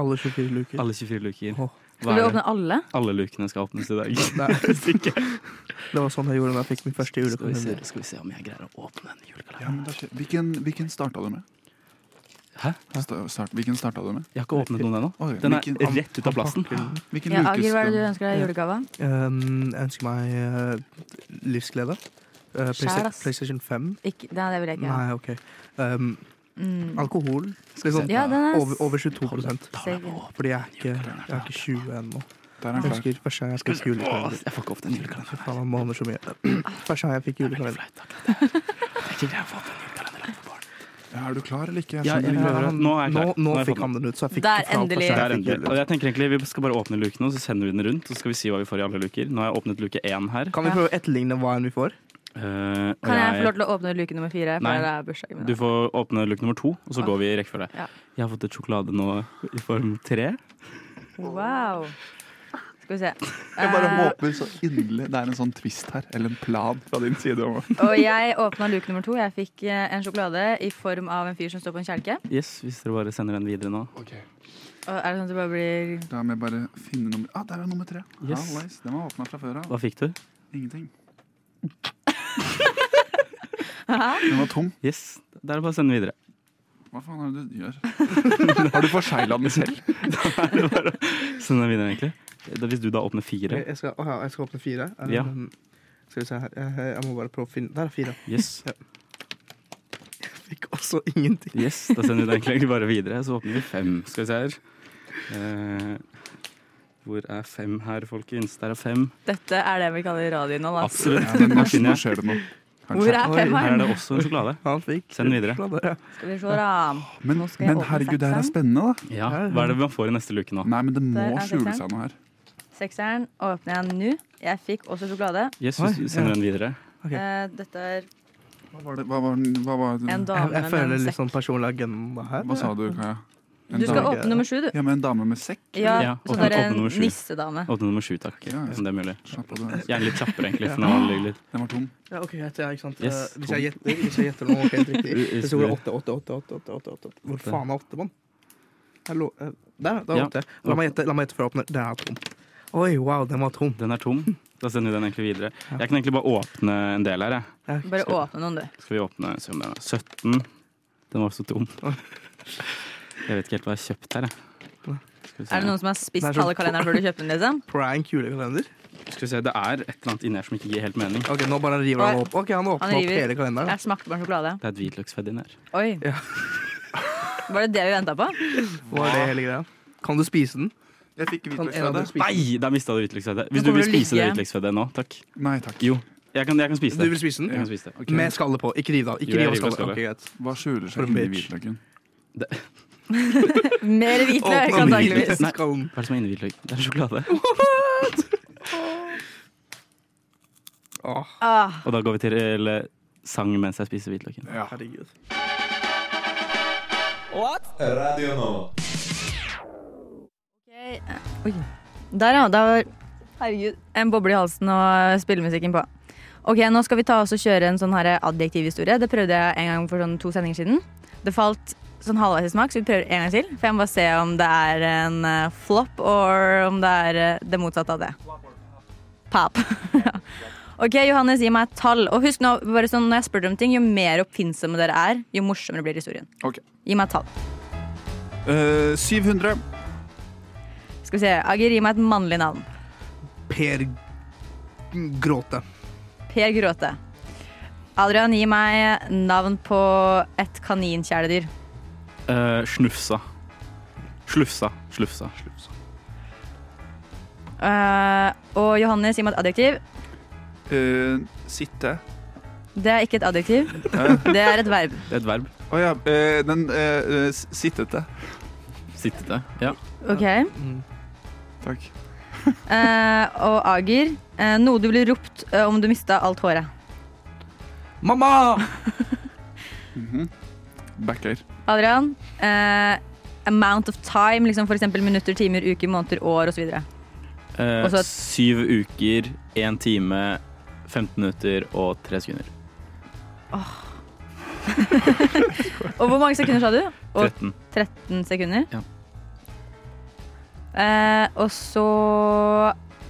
F: Alle 24 luker.
A: Alle 24 luker.
F: Åh.
A: Hva er
E: Skal du
A: det?
E: åpne alle?
A: Alle lukene skal åpnes i dag.
F: Nei, det var sånn jeg gjorde da jeg fikk min første
A: Skal vi, se,
F: julekalender.
A: skal vi se om jeg greier å åpne en
B: Ja,
A: julekalender.
B: men da skjer- hvilken, hvilken starta du med?
A: Hæ?
B: Sta- Start, hvilken starta du med?
A: Jeg har ikke åpnet noen ennå.
B: Oi,
A: Den
B: hvilken-
A: er rett ut av plassen.
B: Hvilken
E: Ja,
B: luke
E: Ager, hva er det du
B: skal-
E: ønsker deg i julegave?
F: Um, jeg ønsker meg eh, livsglede. Eh,
E: Skjær, ass.
F: PlayStation 5.
E: Ikke, nei, det vil jeg ikke ha.
F: Nei, OK. Um,
E: Mm.
F: alkohol. Liksom,
E: Ja, den er
F: over, over 22
E: seg.
F: Fordi jeg er ikke, jeg er ikke 20
B: Der
F: ennå.
B: er den klar.
F: Jeg husker første gang jeg fikk
A: Åh,
F: julekalender.
A: Jeg får ikke åpnet en julekalender.
F: Fy faen, man måler så mye. Første gang jeg fikk julekalender.
A: Jeg greier å få åpnet en julekalender.
B: Ja, er du klar eller ikke? Jeg
A: Ja,
B: skjønner
A: jeg
B: ikke.
A: prøver. Nå er jeg
F: Nå,
A: klar.
F: nå
A: Nå har jeg fått
F: fikk han den ut, så jeg fikk
E: Der,
F: ikke fra første
E: endelig.
A: Det
F: gang
A: er
F: jeg fikk
A: endelig. Og jeg tenker egentlig Vi skal bare åpne lukene, og så sender vi den rundt. Og så skal vi si hva vi får i alle luker. Nå har jeg åpnet luke én her.
F: Kan vi prøve å etterligne hva enn vi får?
A: Eh, og
E: Kan jeg få lov til å åpne luke nummer fire?
A: Nei.
E: For det er bursdagen min.
A: Du får åpne luke nummer to, og så går vi i rekkefølge.
E: Ja.
A: Jeg har fått et sjokolade nå i form tre.
E: Wow. Skal vi se.
B: Jeg bare
E: Eh,
B: håper så inderlig det er en sånn twist her, eller en plan fra din side. om å-
E: og jeg åpna luke nummer to. Jeg fikk eh, en sjokolade i form av en fyr som står på en kjelke.
A: Yes, Hvis dere bare sender den videre nå.
E: Og er det sånn at du bare blir
B: Da må jeg bare finne nummer Ah, der er nummer tre.
A: Yes.
B: Hallais, den var åpna fra før av.
A: Hva fikk du?
B: Ingenting. Den var tom.
A: Yes, Da er det bare å sende den videre.
B: Hva faen er det du gjør? Har du forsegla den selv?
A: Send den videre, egentlig. Da, hvis du da åpner fire.
F: Jeg skal, å ja, jeg skal åpne fire. Um,
A: Ja.
F: Skal vi se her. Jeg, jeg må bare prøve å finne Der er fire.
A: Yes,
F: Jeg fikk også ingenting.
A: yes da sender vi den egentlig bare videre. Så åpner vi fem. Skal vi se her. Eh, hvor er fem her, folkens? Der er fem.
E: Dette er det vi kaller radio nå, da.
A: Absolutt.
B: Ja, men
A: Nå
B: nå,
A: finner
B: nå
A: jeg.
B: skjer det noe.
E: Hvor
B: Kanskje.
E: er
F: Oi,
A: Her er
E: femmeren?
A: det også en sjokolade.
F: Han fikk
A: Send den videre.
F: sjokolade, ja.
E: Skal vi se, da.
B: Men,
E: Nå skal jeg
B: men
E: åpne
B: herregud, det her er
E: sekseren.
B: spennende, da.
A: Ja, Hva er det man får i neste luke nå?
B: Nei, men det må
E: Der er
B: skjule
E: sekseren.
B: seg noe her.
E: Sekseren åpner jeg nå. Jeg fikk også sjokolade.
A: Yes,
F: Oi,
A: hvis du sender
F: ja.
A: den videre.
F: Ok.
E: Eh, Dette er
B: Hva var det? Hva, var, den- hva, var,
E: en
B: den-
E: dame
F: Jeg, jeg
E: med
F: føler
E: en
F: litt
E: sekk.
F: sånn personlig agenda her.
B: hva sa du, Kaja? En
E: Du skal
B: dame-
E: åpne nummer sju, du.
B: Ja, men en dame med sekk?
E: Ja,
A: Ja,
E: så
A: åpne-
E: det er
A: åpne
E: en
A: nummer sju.
E: nissedame.
A: Åpne nummer sju, takk.
B: Ja, ja.
A: Som det er mulig.
B: Slapp av, den
A: Gjerne litt kjappere, egentlig. For nå ligger litt
B: den var tom.
F: Ja, ok, jeg, jeg, ikke sant?
A: Yes.
F: Eh, hvis, jeg gjetter, hvis jeg gjetter noe helt riktig
A: Yes,
F: Så går det
A: du-
F: åtte, åtte, åtte, åtte, åtte, åtte, åtte. Hvor faen er åtte, mann? Jeg lå- eh, Der, da
A: Ja.
F: åpnet jeg. La meg gjette, la meg gjette før jeg åpner. Den er tom. Oi, wow, den var tom.
A: Den er tom. Da sender vi den egentlig videre. Jeg kan egentlig bare åpne en del her. Jeg.
E: Bare åpne noen, du.
A: Skal vi åpne se om den er 17? Den var også tom. Jeg vet ikke helt hva jeg har kjøpt her. Jeg. Skal vi, se.
E: Er det noen som har
F: Det
E: spist
F: er så-
E: halve kalenderen før du kjøpte den? liksom?
F: Prank julekalender.
A: Skal vi se, det er et eller annet inni her som ikke gir helt mening.
F: Ok, nå bare river han
E: Oi.
F: opp. Ok, han åpner opp
E: river.
F: hele kalenderen.
E: Jeg smakte på en sjokolade.
A: Det er et hvitløksfedd inni her.
E: Oi.
F: Ja.
E: Var det det vi venta på?
F: Hva er det hele greia? Kan du spise den?
B: Jeg fikk
F: Kan en av dere
B: hvitløksfedde.
F: spise den?
A: Nei, der mista du hvitløksfeddet. Hvis
E: Nå
A: du vil
E: kommer det
A: spise det
E: ligge.
A: hvitløksfeddet nå, takk.
B: Nei takk.
A: Jo, jeg kan, jeg kan spise
F: Du vil
A: det.
F: spise
A: Jeg
F: den?
A: kan spise det.
B: Ok.
F: Med skallet på. Ikke riv det av.
A: Jo,
F: Ikke
A: jeg
F: riv av
A: river
F: skallet.
A: skallet.
F: Ok, greit.
B: Hva skjuler
F: For
B: seg
F: en
B: inni
F: bitch.
B: hvitløken?
E: Mer hvitløk,
F: Åpne
E: antakeligvis.
A: Nei.
F: hvitløkskallen.
A: Hva er det som er inni hvitløk? Det er sjokolade.
F: Åh,
E: Ah,
A: Og da går vi til eller, sang mens jeg spiser hvitløken.
B: Ja.
F: herregud.
C: Radio Nova.
E: ok. Oi. Der, ja. Da var Herregud. en boble i halsen og spillemusikken på. Ok, Nå skal vi ta oss og kjøre en sånn her adjektivhistorie. Det prøvde jeg en gang for sånn to sendinger siden. Det falt sånn halvveis i smak, så vi prøver en gang til. For jeg må bare se om det er en eh, flop, or om det er eh, det motsatte av det. Pap. Ja. ok, Johannes, gi meg et tall. Og husk nå, bare sånn når jeg spør dere om ting, jo mer oppfinnsomme dere er, jo morsommere blir historien.
B: Ok.
E: Gi meg et tall.
B: Eh, 700.
E: Skal vi se. Agir, gi meg et mannlig navn.
F: Per Gråte.
E: Per Gråte. Adrian, gi meg navn på et kaninkjæledyr.
A: Eh, snufsa. Slufsa. Slufsa.
E: Eh, og Johannes, gi meg et adjektiv.
B: Eh, sitte.
E: Det er ikke et adjektiv. Det er et verb.
A: Det er et verb.
B: Å ja. eh, den eh, eh, s- sittete.
A: Sittete. Ja.
E: Ok.
B: Takk.
E: Eh, og Ager, eh, noe du ville ropt eh, om du mista alt håret.
F: Mamma!
B: Backer.
E: Adrian, eh, amount of time, liksom f.eks. minutter, timer, uker, måneder, år osv.
A: Eh,
E: Og så et-
A: syv uker, én time, 15 minutter og tre sekunder.
E: Og hvor mange sekunder sa du? Og
A: 13.
E: 13 sekunder.
A: Ja.
E: Eh, og så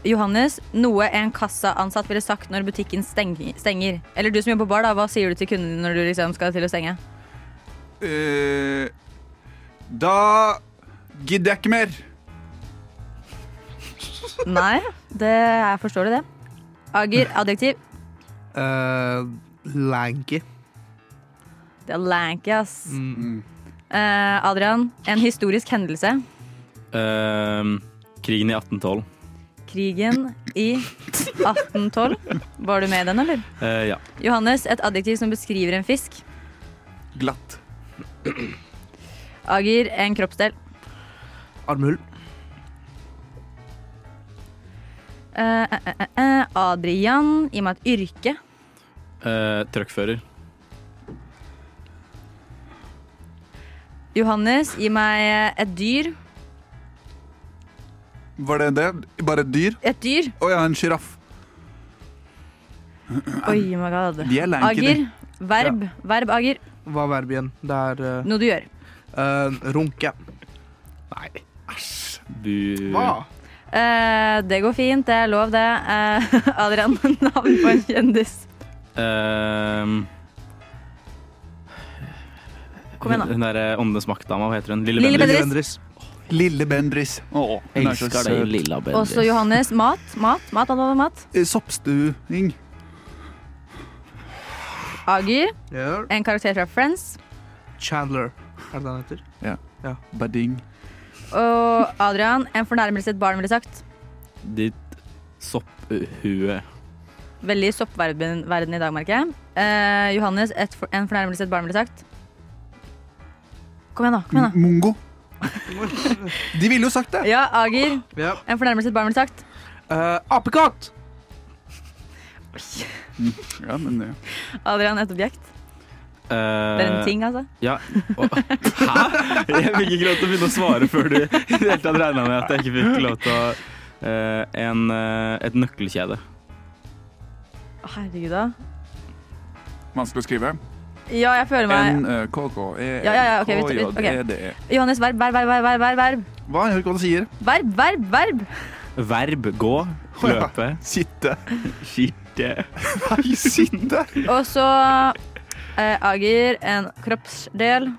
E: Johannes, noe en kassaansatt ville sagt når butikken steng- stenger. Eller du som jobber på bar, da, hva sier du til kunden når du liksom skal til å stenge?
B: Eh, da gidder jeg ikke mer.
E: Nei, det er forståelig, det. Ager, adjektiv.
F: Eh, lanky.
E: Det er lanky, ass.
F: Mm.
E: Eh, Adrian, en historisk hendelse.
A: Eh, krigen i 1812.
E: Krigen i 1812. Var du med i den, eller?
A: Eh, ja.
E: Johannes, et adjektiv som beskriver en fisk.
B: Glatt.
E: Ager, en kroppsdel.
F: Armhull.
E: Eh, eh, eh, eh, Adrian, gi meg et yrke.
A: Eh, Truckfører.
E: Johannes, gi meg et dyr.
B: Var det det? Bare et dyr?
E: Et dyr?
B: Å ja, en sjiraff.
E: Oi, my god.
B: De er lanky, de.
E: Ager, verb. Verb, Ager.
F: Hva er verbet igjen? Det er eh,
E: Noe du gjør.
F: eh, runke. Nei.
A: Bu...
E: Eh, det går fint, det er lov, det. Eh, Adrian, navn på en kjendis.
A: Eh,
E: Kom igjen, da.
A: Hun derre Åndenes makt-dama, hva heter hun? Lille
E: Lille
A: Bendriss.
E: Bendriss.
F: Bendriss.
B: Lille Bendris. Å, hun er så
A: Elsker deg,
B: søt.
A: lilla Bendriss.
E: Også Johannes. Mat, mat, mat. mat, mat, mat.
B: Eh, Soppstuing.
E: Ager,
F: Ja.
E: en karakter fra Friends.
F: Chandler. Er det det han heter?
B: Bading.
E: Og Adrian, en fornærmelse et barn ville sagt.
A: Ditt sopphue.
E: Veldig i soppverden verden i dag, merker jeg. Eh, Johannes, et for, en fornærmelse et barn ville sagt. Kom igjen, da. kom igjen da
B: Mongo. De ville jo sagt det.
E: Ja, Ager,
F: Ja.
E: en fornærmelse et barn ville sagt.
F: Eh, apekatt!
B: Ja, men eh, det.
E: Adrian, et objekt.
A: Eh,
E: Det er en ting, altså.
A: Ja. Å, hæ? Jeg fikk ikke lov til å begynne å svare før du i det hele tatt regna med at jeg ikke fikk lov til å eh, en, eh, Et nøkkelkjede.
E: Å, Herregud, da.
B: Vanskelig å skrive. eh,
E: Ja, jeg føler meg
B: N-K-K-E-K-J-E-D-E.
E: Ja, ja, ja, ok, vi tar- Johannes, verb, verb, verb, verb, verb, verb.
B: E, Hva er det han sier?
E: Verb, verb, verb.
A: Verb gå, løpe,
B: Sitte.
A: skirte.
B: Nei, sitte!
E: Og så eh, Ager, en kroppsdel.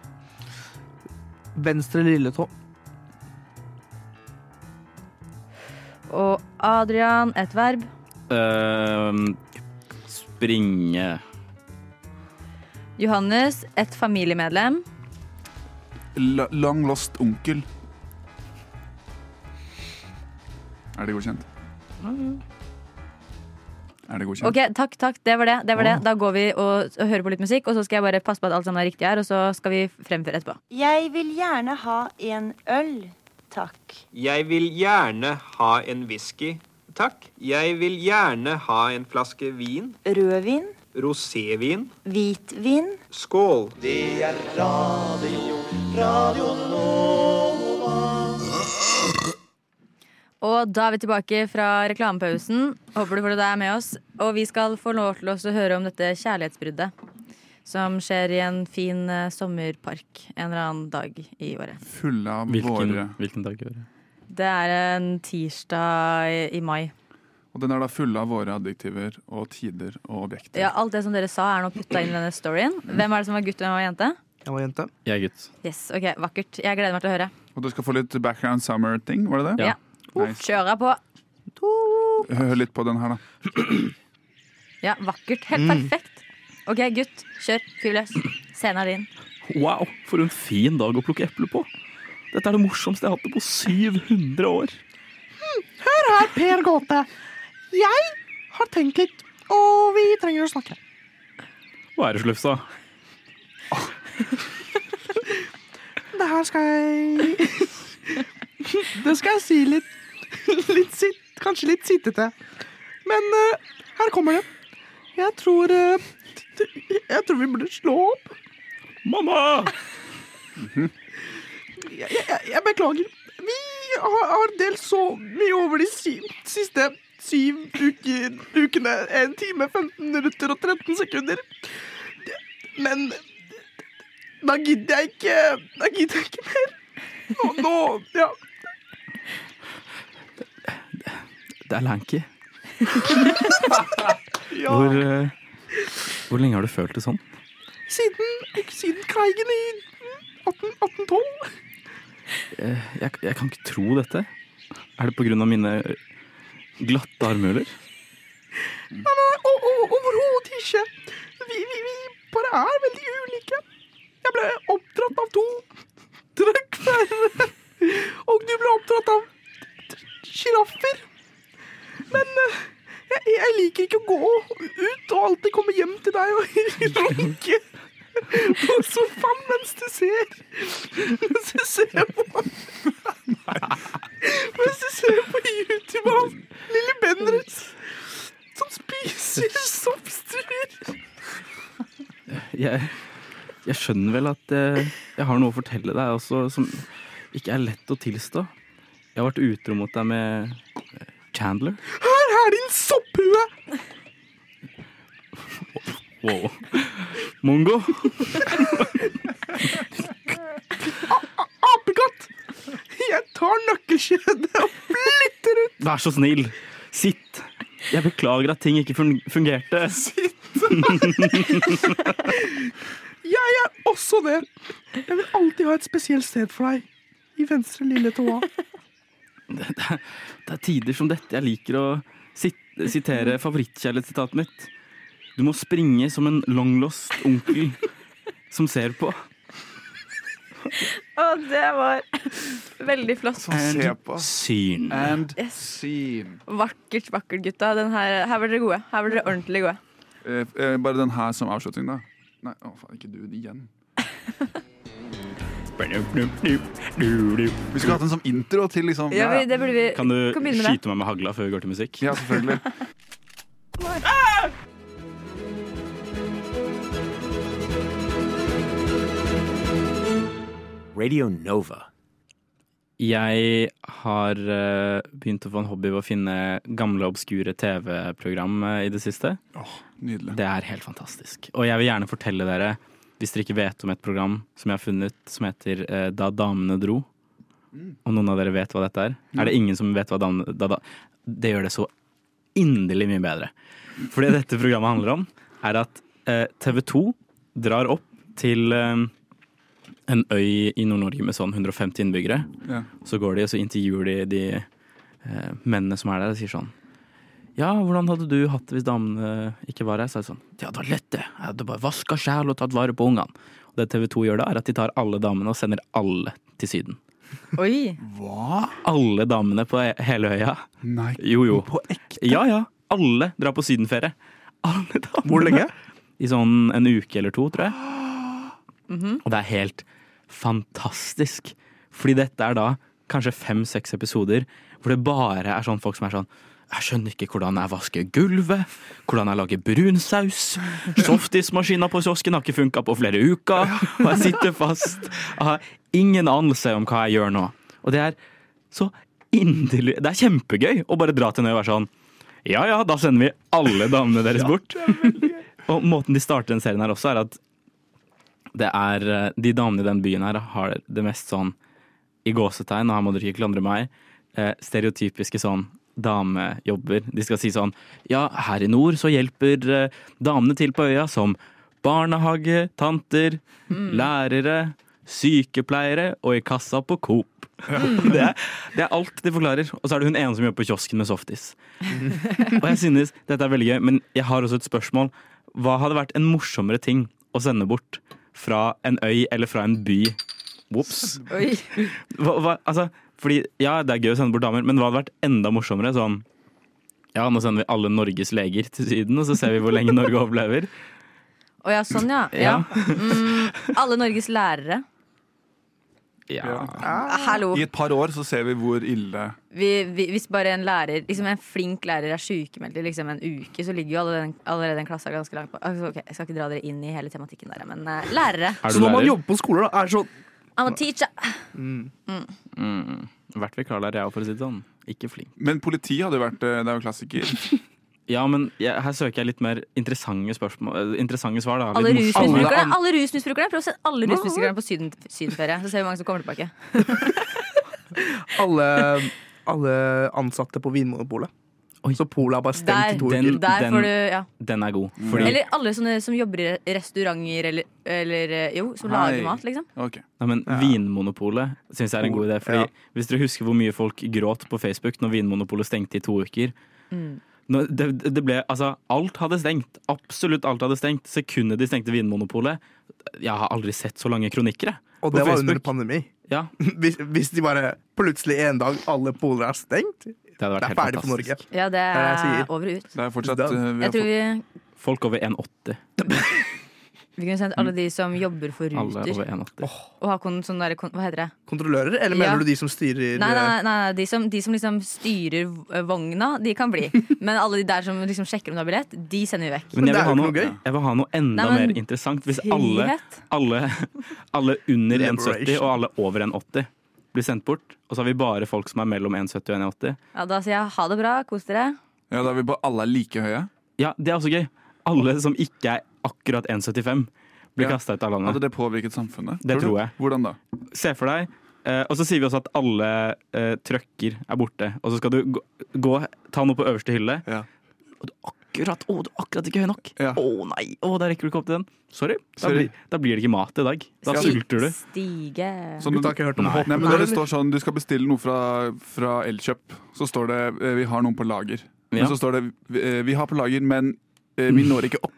F: Venstre lilletå.
E: Og Adrian, et verb.
A: Eh, springe.
E: Johannes, et familiemedlem.
B: L long lost onkel. Er det godkjent? Er det godkjent?
E: Ok, takk, takk, det var det, det var det. Da går vi og, og hører på litt musikk Og så skal jeg bare passe på at alt sammen er riktig her Og så skal vi fremføre etterpå
I: Jeg vil gjerne ha en øl, takk.
J: Jeg vil gjerne ha en whisky. Takk. Jeg vil gjerne ha en flaske vin.
I: Rødvin,
J: Rosévin.
I: hvitvin,
J: Skål.
E: Og da er vi tilbake fra reklamepausen Håper du får det der med oss Og vi skal få lov til oss å høre om dette kjærlighetsbruddet Som skjer i en fin eh, sommerpark En eller annen dag i året
B: Fulle av
A: Hvilken,
B: våre.
A: hvilken dag gjør det?
E: Det er en tirsdag i, i mai
B: Og den er da fulle av våre adjektiver og tider og objekter.
E: Ja, alt det som dere sa er nå puttet inn i denne storyen Hvem er det som var gutt, og hvem var jente?
F: Jeg var jente.
A: Jeg er gutt.
E: Yes, ok, vakkert Jeg gleder meg til å høre
B: Og du skal få litt background summer-ting, var det det?
A: Ja.
B: Nice.
E: Kjører på
B: Hør litt på den her, da.
E: Mm. Ja, vakkert, helt perfekt OK, gutt, kjør. Fyr løs. Scenen er din.
A: Wow, for en fin dag å plukke eple på. Dette er det morsomste jeg har hatt det på 700 år.
F: Hør her, Per Gåte. Jeg har tenkt litt, og vi trenger å snakke.
A: Hva er det, Slufsa?
F: Det her skal jeg Det skal jeg si litt, litt sitt, Kanskje litt sittete. Men eh, her kommer det. Jeg tror eh, Jeg tror vi burde slå opp.
A: Mamma!
F: Jeg, jeg, jeg beklager. Vi har, har delt så mye over de syv, siste syv uker, ukene. 1 time, 15 minutter og 13 sekunder. Men da gidder jeg ikke Da gidder jeg ikke mer. Og nå Ja.
A: Det er Lanky. Hvor, eh, hvor lenge har du følt det sånn?
F: Siden, siden krigen i 18, 1812.
A: Eh, Jeg, jeg kan ikke tro dette. Er det på grunn av mine glatte armhuler?
F: Nei, nei, og, og, overhodet ikke. Vi, vi, vi bare er veldig ulike. Jeg ble oppdratt av to trøkkførere. Og du ble oppdratt av sjiraffer. Men eh, jeg, jeg liker ikke å gå ut og alltid komme hjem til deg og runke på sofaen mens du ser Mens du ser på Mens du ser på YouTube av Lille Bendriss som spiser soppstuer.
A: Jeg, jeg skjønner vel at eh, jeg har noe å fortelle deg også som ikke er lett å tilstå. Jeg har vært utro mot deg med eh, Chandler.
F: Her er din sopphue!
A: Wow. Mongo.
F: Apekatt! Jeg tar nøkkelkjedet og flytter ut!
A: Vær så snill, sitt. Jeg beklager at ting ikke fun fungerte.
F: Jeg er også det. Jeg vil alltid ha et spesielt sted for deg i venstre lille tåa.
A: Det er tider som dette jeg liker å sit sitere favorittkjærlighetssitatet mitt. Du må springe som en longlost onkel som ser på.
E: Å, det var veldig flott.
A: syn.
B: And
E: Yes.
B: scene.
E: Vakkert, vakkert, gutta. Den her, her var dere gode. Her var dere ordentlig gode.
B: Eh, eh, bare den her som avslutning, da. Nei, å faen, ikke du igjen. Vi skulle hatt en som intro til liksom
E: Ja, vi, det burde vi
A: Kan du
E: kan begynne med det.
A: skyte meg med hagla før vi går til musikk?
B: Ja, selvfølgelig.
K: Radio Nova.
A: Jeg har eh, begynt å få en hobby ved å finne gamle, obskure TV-program eh, i det siste.
B: Nydelig.
A: Det er helt fantastisk. Og jeg vil gjerne fortelle dere, hvis dere ikke vet om et program som jeg har funnet, som heter eh, Da damene dro.
B: Mm.
A: Om noen av dere vet hva dette er? Er det ingen som vet hva damene da, da, Det gjør det så inderlig mye bedre. For det dette programmet handler om, er at eh, TV 2 drar opp til eh, en øy i Nord-Norge med sånn 150 innbyggere.
B: Ja.
A: Så går de og så intervjuer de de eh, mennene som er der og sier sånn Ja, hvordan hadde du hatt det hvis damene ikke var her? Så er det sånn Ja, det var lett det. Jeg hadde bare vaska sjæl og tatt vare på ungene. Og det TV 2 gjør da, er at de tar alle damene og sender alle til Syden.
E: Oi.
B: Hva?
A: Alle damene på he- hele øya.
B: Nei,
A: Jo, jo.
B: på ekte?
A: Ja, ja. Alle drar på sydenferie. Alle damene.
L: Hvor lenge?
A: I sånn en uke eller to, tror jeg.
B: Mhm.
A: Og det er helt fantastisk. Fordi dette er da kanskje fem-seks episoder hvor det bare er sånn folk som er sånn jeg skjønner ikke hvordan jeg vasker gulvet, hvordan jeg lager brunsaus. Softismaskina på kiosken har ikke funka på flere uker, og jeg sitter fast. Jeg har ingen anelse om hva jeg gjør nå. Og det er så inderlig Det er kjempegøy å bare dra til en øy og være sånn Ja ja, da sender vi alle damene deres bort. Og måten de starter den serien her også, er at det er eh, De damene i den byen her har det mest sånn i gåsetegn, og her må dere ikke klandre meg, eh, stereotypiske sånn damejobber. De skal si sånn Ja, her i nord så hjelper eh, damene til på øya som barnehage, tanter, lærere, sykepleiere og i kassa på Coop. Det, er, det er alt de forklarer. Og så er det hun ene som jobber på kiosken med softis. Og jeg synes dette er veldig gøy, men jeg har også et spørsmål. Hva hadde vært en morsommere ting å sende bort fra en øy eller fra en by? Ops.
E: Oi.
A: Hva, hva, altså, fordi, ja, det er gøy å sende bort damer, men hva hadde vært enda morsommere? Sånn, ja, nå sender vi alle Norges leger til Syden, og så ser vi hvor lenge Norge overlever.
E: Å ja, sånn ja. ja. Mm, alle Norges lærere. Hallo.
B: I et par år så ser vi hvor ille
E: Vi, vi, hvis bare en lærer Liksom en flink lærer er sykemeldt i liksom en uke, så ligger jo alle den, allerede den klassa ganske langt på. Altså, ok, jeg skal ikke dra dere inn i hele tematikken der, men eh, lærere.
F: Så når man jobber på skoler, da, er det sånn
E: I'm a teacher.
A: Mm.
E: Mm.
A: Vært vikarlærer, jeg òg, for å si det sånn. Ikke flink.
B: Men politi hadde jo vært eh, Det er jo klassiker.
A: Ja, men jeg, her søker jeg litt mer interessante, spørsmål, eh, interessante svar. Da. Litt
E: Alle
A: morsomme.
E: rusmisbrukerne, alle rusmisbrukerne Prøv å sende alle rusmisbrukerne på syden, sydenferie, så ser vi hvor mange som kommer tilbake.
F: alle, alle ansatte på Vinmonopolet. Så polet er bare stengt i to
A: Den-
F: uker.
E: Der får du ja.
A: Den er god. Fordi,
E: Eller alle sånne som jobber i restauranter eller, eller eh, Jo, som lager mat, liksom.
A: Nei, men Vinmonopolet syns jeg er en god idé. Fordi Hvis dere husker hvor mye folk gråt på Facebook når Vinmonopolet stengte i to uker
E: Mm.
A: Nå- det, det ble, altså, Alt hadde stengt. Absolutt alt hadde stengt. Sekundet de stengte Vinmonopolet Jeg har aldri sett så lange kronikker. Jeg,
F: Og
A: på
F: det var
A: Facebook.
F: under pandemi.
A: Ja.
F: Hvis, hvis de bare plutselig en dag alle poler er stengt,
A: Det hadde vært
F: det er
A: helt
F: ferdig for Norge.
A: fantastisk.
E: Ja, det
F: Det er det
E: er
F: jeg sier.
E: over og ut.
B: Det er fortsatt
F: Da-
B: eh, vi har
E: Jeg tror vi,
A: Folk over 1,80.
E: vi kunne sendt alle de som jobber for
A: Alle over
E: Ruter.
A: 1,80.
E: Og ha kon, sånn der, kon, hva heter det?
F: Kontrollører, eller
E: Ja.
F: mener du de som styrer
E: Nei, nei, nei, nei de, som, de som liksom styrer eh, vogna, de kan bli. Men alle de der som liksom sjekker om du har billett, de sender vi vekk.
A: Men jeg vil,
F: det er
A: ha
F: jo
A: noe,
F: ikke noe gøy.
A: jeg vil ha noe enda
E: Nei, men
A: mer interessant. Hvis alle,
E: frihet.
A: alle, alle under 1,70
F: Liberation.
A: og alle over 1,80 blir sendt bort, og så har vi bare folk som er mellom 1,70 og 1,80
E: Ja, da sier jeg ha det bra, kos dere.
B: Ja, da er vi på alle er like høye.
A: Ja, det er også gøy. Alle som ikke er akkurat 1,75 blir
B: Ja.
A: kastet
B: Altså,
A: ut av landet.
B: Hadde det påvirket samfunnet?
A: Det
B: du?
A: tror jeg.
B: Hvordan da?
A: Se for deg. Eh, og så sier vi også at alle eh, trøkker er borte. Og så skal du gå, gå ta noe på øverste hylle.
B: Ja.
A: Og du akkurat, å, du er akkurat ikke høy nok. Å
B: Ja.
A: nei, å, da rekker du ikke opp til den. Sorry. Da,
B: Sorry.
A: Blir, da blir det ikke mat i dag. Da
E: Sti-
A: sulter du.
E: Stige.
B: Sånn,
F: Gutta har ikke hørt om
A: Nei.
F: hopp.
B: nei, men når det
F: Nei.
B: står sånn, Du skal bestille noe fra, fra Elkjøp, så står det eh, 'vi har noen på lager'. Men
A: Ja.
B: så står det eh, 'vi har på lager, men eh, vi når ikke opp'.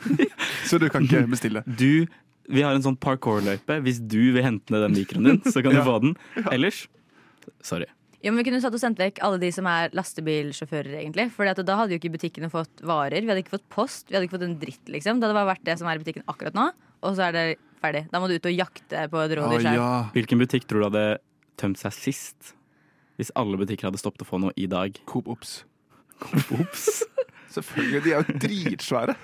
B: så du kan ikke bestille.
A: Du, vi har en sånn parkour-løype. Hvis du vil hente ned den mikroen din, så kan du
B: Ja.
A: få den. Ellers sorry.
E: Ja, men Vi kunne satt og sendt vekk alle de som er lastebilsjåfører. egentlig Fordi at Da hadde jo ikke butikkene fått varer, vi hadde ikke fått post, vi hadde ikke fått en dritt. liksom Det hadde bare vært det som er i butikken akkurat nå, og så er det ferdig. Da må du ut og jakte på et
B: Å
E: rådyr
B: Ah,
E: sjøl.
B: ja.
A: Hvilken butikk tror du hadde tømt seg sist? Hvis alle butikker hadde stoppet å få noe i dag.
B: Coop Ops.
A: Ops.
B: Selvfølgelig. De er jo dritsvære.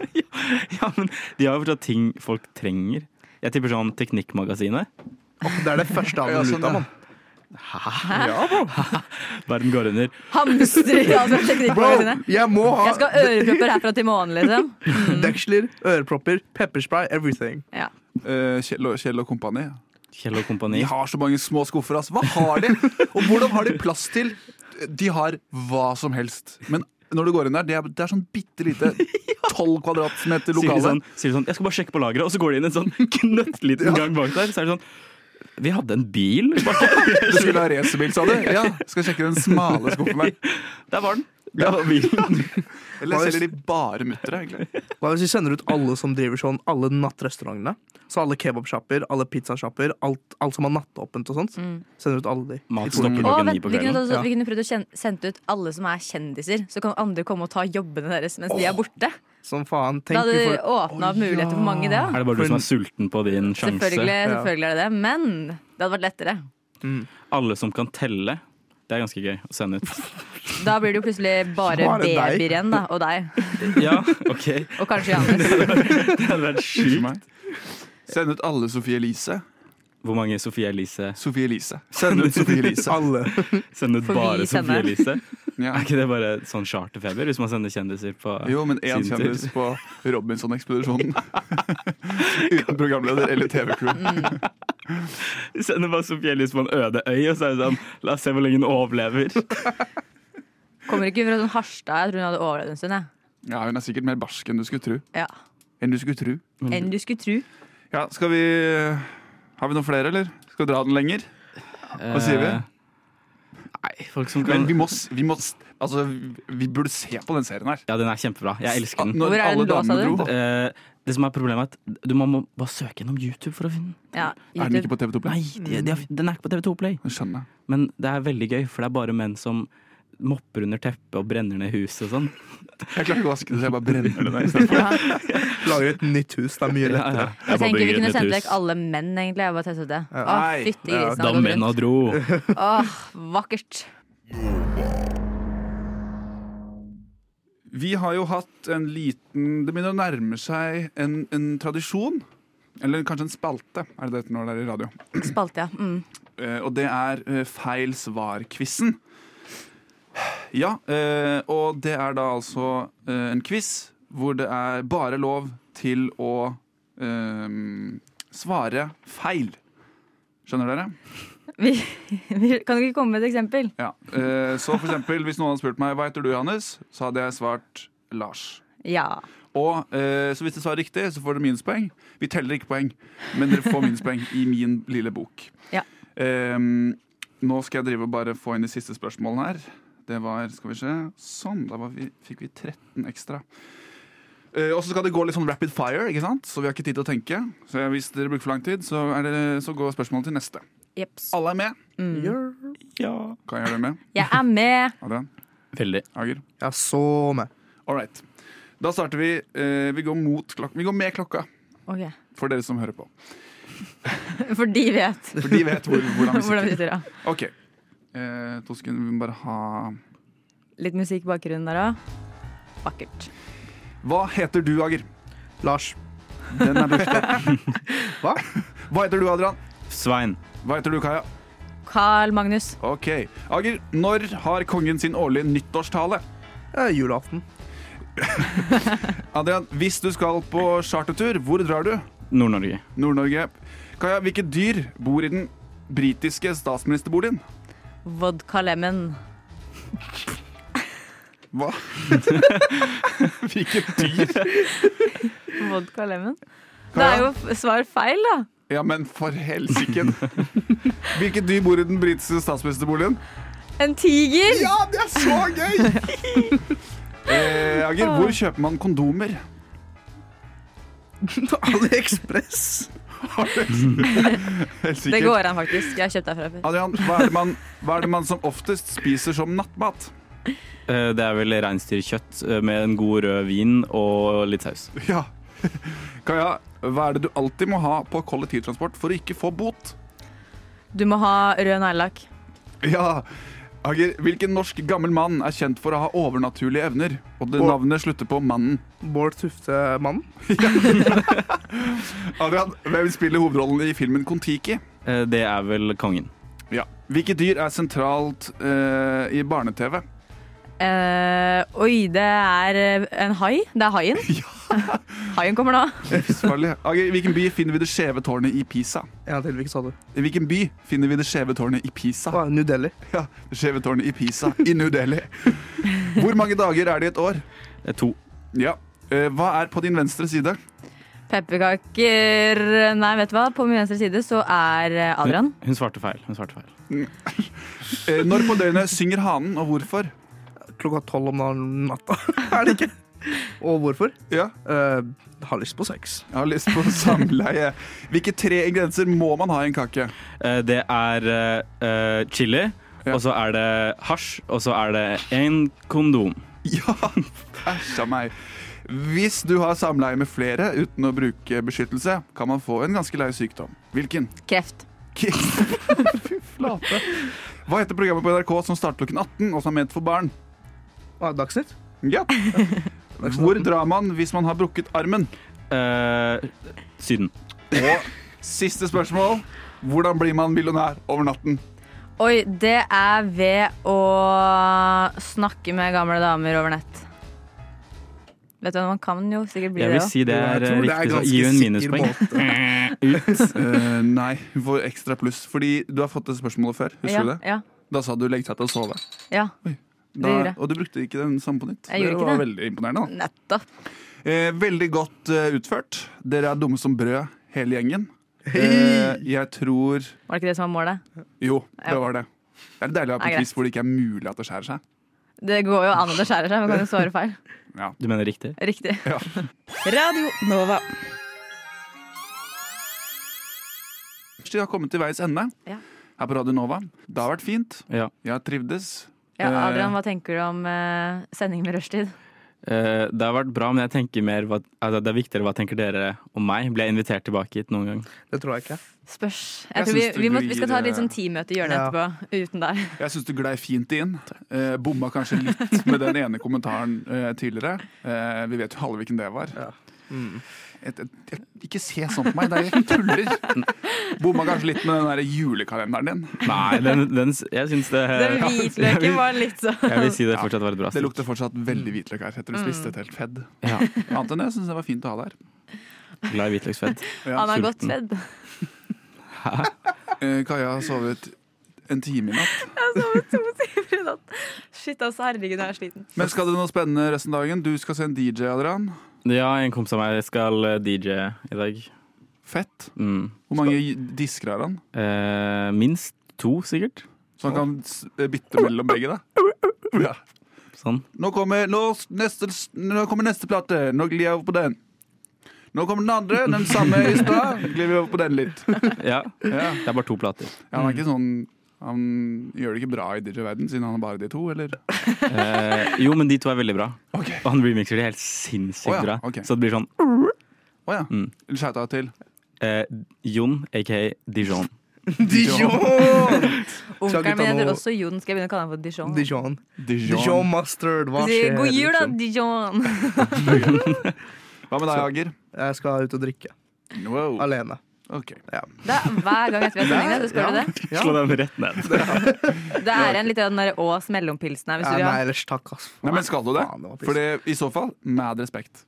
A: Ja, men de har jo fortsatt ting folk trenger. Jeg tipper sånn Teknikkmagasinet.
F: eh, Det er det første han
B: Ja,
F: vil
B: sånn,
F: ut
B: ja.
F: av, mann.
A: Verden går under.
E: Hamstre i alt fra teknikkmagasinet.
F: Bro, jeg må ha
E: Jeg skal ha ørepropper herfra til månen, liksom.
F: deksler, ørepropper, pepperspray, everything.
E: Ja.
B: Eh, Kjell, og, Kjell og kompani.
A: Kjell og kompani.
B: De har så mange små skuffer, ass. Hva har de? Og hvordan har de plass til? De har hva som helst. Men når du går inn der, det er, det er sånn bitte lite tolv
A: Sier
B: kvadratmeter
A: de,
B: lokale.
A: sånn, sier de sånn 'Jeg skal bare sjekke på lageret', og så går de inn en sånn knøttliten gang bak der. Så er det sånn Vi hadde en bil.
B: Du skulle ha racerbil, sa du? Ja, skal jeg sjekke den smale skuffen her.
A: Der var den. Der var bilen.
B: Eller selger de bare muttere, egentlig?
F: Hva hvis vi sender ut alle som driver sånn, alle nattrestaurantene? Så alle kebabsjapper, alle pizzasjapper, alt, alt som har nattåpent og sånt.
E: Mm.
F: Sender ut alle de.
A: Mat
F: I to
A: stopper
F: uker.
A: nå.
E: Og
A: Klokken ni
E: vent,
A: på
E: vi, kunne
A: kvelden.
E: også,
F: Ja.
E: vi kunne prøvd å kjen- sende ut alle som er kjendiser, så kan andre komme og ta jobbene deres mens de er borte.
F: Som faen.
E: Da
F: Tenk
E: hadde
F: vi
E: det
F: får
E: åpna opp muligheter for mange, det. da.
A: Er det bare du som er sulten på din sjanse?
E: Selvfølgelig, selvfølgelig er det det, men det hadde vært lettere.
A: Alle som kan telle. Det er ganske gøy å sende ut.
E: Da blir det jo plutselig bare
F: Bare deg.
E: babyer igjen, da. Og deg.
A: Ja, OK.
E: Og kanskje Johannes.
A: Det hadde vært sjukt.
B: Send ut alle Sofie Elise.
A: Hvor mange Sofie Elise
B: Sofie Elise. Send ut Sofie Elise.
F: alle.
A: Send ut
E: Får vi
A: bare
E: sende?
A: Sofie Elise?
B: Ja.
A: Er ikke det bare sånn charterfeber hvis man sender kjendiser på
B: Jo, men én
A: sin tur?
B: kjendis på Robinson-ekspedisjonen. Uten programleder eller TV-crew.
A: Sender bare Sofie Elise på en øde øy, og så er det sånn La oss se hvor lenge hun overlever.
E: Kommer ikke fra sånn Harstad. Jeg tror hun hadde overlevd en stund. jeg.
B: Ja, hun er sikkert mer barsk enn du skulle tro.
E: Ja.
B: Enn du skulle tro.
E: Enn du skulle tro.
B: Ja, skal vi Har vi noen flere, eller? Skal vi dra den lenger? Hva sier vi?
A: Eh, Nei, folk som kan-
B: Men vi må, s- vi må s- Altså, vi burde se på den serien her. Ah,
A: Ja, den er kjempebra. Jeg elsker den.
B: Når Hvor er alle den da, sa damene du? dro.
A: Eh, det som er problemet er at du må, må bare søke gjennom YouTube for å finne den.
E: Ja,
B: Er den ikke på TV2 Play?
A: Nei, de, de har, den er ikke på TV2 Play.
B: Skjønner jeg.
A: Men det er veldig gøy, for det er bare menn som mopper under teppet og brenner ned huset og sånn.
B: Jeg klarer ikke å vaske det, så jeg bare brenner det der.
F: Lager et nytt hus, det er mye lettere.
E: Jeg tenkte vi kunne sendt vekk alle menn, egentlig. Jeg bare testet det. Å, fytti
A: Da
E: grisen. han har gått
A: menna dro.
E: rundt. Åh, vakkert.
B: Vi har jo hatt en liten Det begynner å nærme seg en, en tradisjon. Eller kanskje en spalte, er det det heter når det er i radio.
E: Spalte, ja. Mm.
B: Eh, Og det er eh, Feil svar-quizen. Ja, eh, og det er da altså eh, en quiz hvor det er bare lov til å eh, svare feil. Skjønner dere?
E: Vi, vi, kan du ikke komme med et eksempel?
B: Ja. Eh, Så for eksempel, hvis noen hadde spurt meg hva heter du, Johannes, så hadde jeg svart Lars.
E: Ja.
B: Og eh, så hvis dere svarer riktig, så får dere minuspoeng. Vi teller ikke poeng, men dere får minuspoeng i min lille bok.
E: Ja.
B: Ehm, nå skal jeg drive og bare få inn de siste spørsmålene her. Det var Skal vi se. Sånn. Da var vi, fikk vi 13 ekstra. Eh, og så skal det gå litt sånn rapid fire, ikke sant? så vi har ikke tid til å tenke. Så hvis dere bruker for lang tid, så, er det, så går spørsmålet til neste.
E: Jeps.
B: Alle er med? Kan jeg gjøre det med?
E: Jeg er med.
B: Adrian?
A: Veldig.
B: Ager?
F: Jeg er så med.
B: All right. Da starter vi. eh, vi, går mot klok vi går med klokka,
E: Ok.
B: for dere som hører på.
E: For de vet
B: For de vet hvor, hvordan vi
E: hvordan vi
B: sitter.
E: sitter. da.
B: Ok. Eh, to sekunder, vi må bare ha
E: Litt musikk i bakgrunnen der òg. Vakkert.
B: Hva heter du, Ager?
F: Lars.
B: Den er lufta. Hva? Hva heter du, Adrian?
A: Svein.
B: Hva heter du, Kaja?
E: Carl Magnus.
B: Ok. Ager, når har kongen sin årlige nyttårstale?
F: Eh, julaften.
B: Adrian, hvis du skal på chartertur, hvor drar du?
A: Nord-Norge.
B: Nord-Norge. Kaja, hvilket dyr bor i den britiske statsministerboligen?
E: Vodka Lemon.
B: Hva? hvilket dyr?
E: Vodka Lemon? Det
B: Kaja?
E: er jo f- svar feil, da.
B: Ja, men for helsiken. Hvilket dyr bor i den britiske statsministerboligen?
E: En tiger!
B: Ja, det er så gøy! eh, Ager, hvor
E: Ah.
B: kjøper man kondomer?
F: AliExpress.
B: Helt
E: Det
B: sikkert.
E: går an, faktisk. Jeg har kjøpt derfra før.
B: Adrian, hva er, det man, hva er det man som oftest spiser som nattmat?
A: Eh, Det er vel reinsdyrkjøtt eh, med en god rød vin og litt saus.
B: Ja. Kaja, hva er det du alltid må ha på kollektivtransport for å ikke få bot?
E: Du må ha rød neglelakk.
B: Ja. Ager, hvilken norsk gammel mann er kjent for å ha overnaturlige evner? Og det
F: Bård.
B: navnet slutter på mannen.
F: Bård Tufte-mannen.
B: Adrian, hvem spiller hovedrollen i filmen Kon-Tiki?
A: Eh, Det er vel kongen.
B: Ja. Hvilke dyr er sentralt eh, i barne-TV?
E: Eh, oi, det er eh, en hai. Det er haien. haien kommer nå.
B: Livsfarlig. Ager, I hvilken by finner vi det skjeve tårnet i Pisa?
F: En gang til, hvilken sa du?
B: I hvilken by finner vi det skjeve tårnet i Pisa?
F: Å, New Delhi.
B: Ja, det skjeve tårnet i Pisa, i New Delhi. Hvor mange dager er det i et år?
A: Det er to.
B: Ja. Eh, Hva er på din venstre side?
E: Pepperkaker Nei, vet du hva? På min venstre side så er eh, Adrian.
A: Hun svarte feil. Hun svarte feil.
B: Eh, Når på døgnet synger hanen, og hvorfor?
F: Klokka tolv om na- natta. er det ikke? Og hvorfor?
B: Ja,
F: Eh, har lyst på sex.
B: jeg har lyst på samleie. Hvilke tre ingredienser må man ha i en kake?
A: Eh, Det er eh, eh, chili,
B: Ja.
A: og så er det hasj, og så er det en kondom.
B: Ja, æsj av meg. Hvis du har samleie med flere uten å bruke beskyttelse, kan man få en ganske lei sykdom. Hvilken?
E: Kreft.
B: Fy flate. Hva heter programmet på NRK som starter klokken 18, og som er ment for barn?
F: Ah, Dagsnytt?
B: Ja. Hvor drar man hvis man har brukket armen?
A: Eh, Syden.
B: Og siste spørsmål. Hvordan blir man millionær over natten?
E: Oi, det er ved å snakke med gamle damer over nett. Vet du hva, Man kan jo sikkert bli
A: Jeg
E: det
A: vil
E: òg.
A: si det er
F: Jeg tror det er
A: riktig. Så
F: ganske
A: gi henne
F: sikker
A: minuspoeng.
B: Eh, nei, hun får ekstra pluss. Fordi du har fått det spørsmålet før. Husker
E: ja,
B: du det?
E: Ja,
B: Da sa du 'legg deg til å sove'.
E: ja. gjorde
B: Da,
E: jeg.
B: og du brukte ikke den samme på nytt.
E: Jeg
B: det
E: gjorde ikke
B: var
E: det.
B: veldig imponerende. Da.
E: Nettopp.
B: Eh, veldig godt eh, utført. Dere er dumme som brød, hele gjengen. Eh, jeg tror
E: Var det ikke det som var målet?
B: Jo, det var det. Det er deilig å ha på
E: Nei, greit.
B: quiz hvor det ikke er mulig at det skjærer seg.
E: Det går jo an at det skjærer seg, men kan jo svare feil.
A: Du mener riktig?
E: Riktig.
B: Ja.
G: Radio Nova.
B: Vi har kommet til veis ende
E: Ja.
B: her på Radio Nova. Det har vært fint.
A: Ja.
B: Jeg har trivdes.
E: Ja, Adrian,
B: Eh,
E: hva tenker du om eh, sending med rushtid?
A: Eh, det har vært bra, men jeg tenker mer hva, altså, det er viktigere hva tenker dere om meg. Blir jeg invitert tilbake hit noen gang?
F: Det tror jeg ikke.
E: Spørs.
B: Jeg
E: Jeg tror vi,
B: synes du
E: vi, må, vi skal ta et
B: glir-
E: litt sånn teammøte i hjørnet
B: Ja.
E: etterpå, uten deg.
B: jeg syns du glei fint inn. Eh, bomma kanskje litt med den ene kommentaren eh, tidligere. Eh, vi vet jo alle hvilken det var. Et, et, et, ikke se sånn på meg, det er jeg tuller! Bomma kanskje litt med den der julekalenderen din.
A: Nei, den, den, jeg syns det
E: Den
A: Jeg vil-
E: hvitløken var litt sånn
A: Jeg vil si det fortsatt var et bra
B: Det
A: sted.
B: lukter fortsatt veldig hvitløk her. Jeg tror du spiste et helt fedd.
A: Altså, Ja.
B: Annet enn det syns jeg det var fint å ha det her.
A: Glad i hvitløksfett.
B: Ja.
E: Han er godt
A: sulten.
E: fedd.
B: Eh, Kaja har sovet en time i natt.
E: Jeg sov i to timer i natt. Shit, altså. Herregud, nå er jeg sliten.
B: Men skal det noe spennende resten av dagen? Du skal se en DJ, Adrian.
A: Ja, en kompis av meg skal eh, DJ i dag.
B: Fett.
A: Mm.
B: Hvor mange disker har han?
A: Eh, minst to, sikkert.
B: Så han kan s- eh, bytte mellom begge, da? Ja.
A: Sånn.
B: Nå kommer, nå, s- neste, s- nå kommer neste plate. Nå glir jeg over på den. Nå kommer den andre, den samme i stad. Glir vi over på den litt.
A: Ja.
B: Ja.
A: Det er bare to plater.
B: Ja, han er ikke sånn Han gjør det ikke bra i DJ-verden, siden han har bare de to, eller?
A: Eh, jo, men de to er veldig bra.
B: Ok.
A: Og han remixer de helt sinnssykt
B: Å ja,
A: bra.
B: ok.
A: Så det blir sånn
B: Å ja.
A: Mm.
B: Shoutout til
A: eh, Jon, aka Dijon.
F: Dijon!
E: Onkelen min
F: ta
E: heter
F: noe-
E: også Jon. Skal jeg begynne å kalle ham for Dijon?
F: Dijon.
B: Dijon.
F: Dijon mustard. Hva
E: Si,
F: skjer?
E: God jul, da,
F: liksom?
E: Dijon!
B: Hva med deg, Ager?
F: Jeg skal ut og drikke.
B: Wow.
F: Alene.
B: Ok.
E: Da, hver gang etter vi har sending, da, så skal du det.
F: Ja.
A: Slå dem rett ned.
E: Det er en liten der Ås mellompilsen her,
F: Ja,
E: hvis du vil
F: nei,
E: ha.
F: ellers takk, ass.
B: Nei, men skal du det?
F: Faen, det var piss.
B: For det, i så fall, med respekt.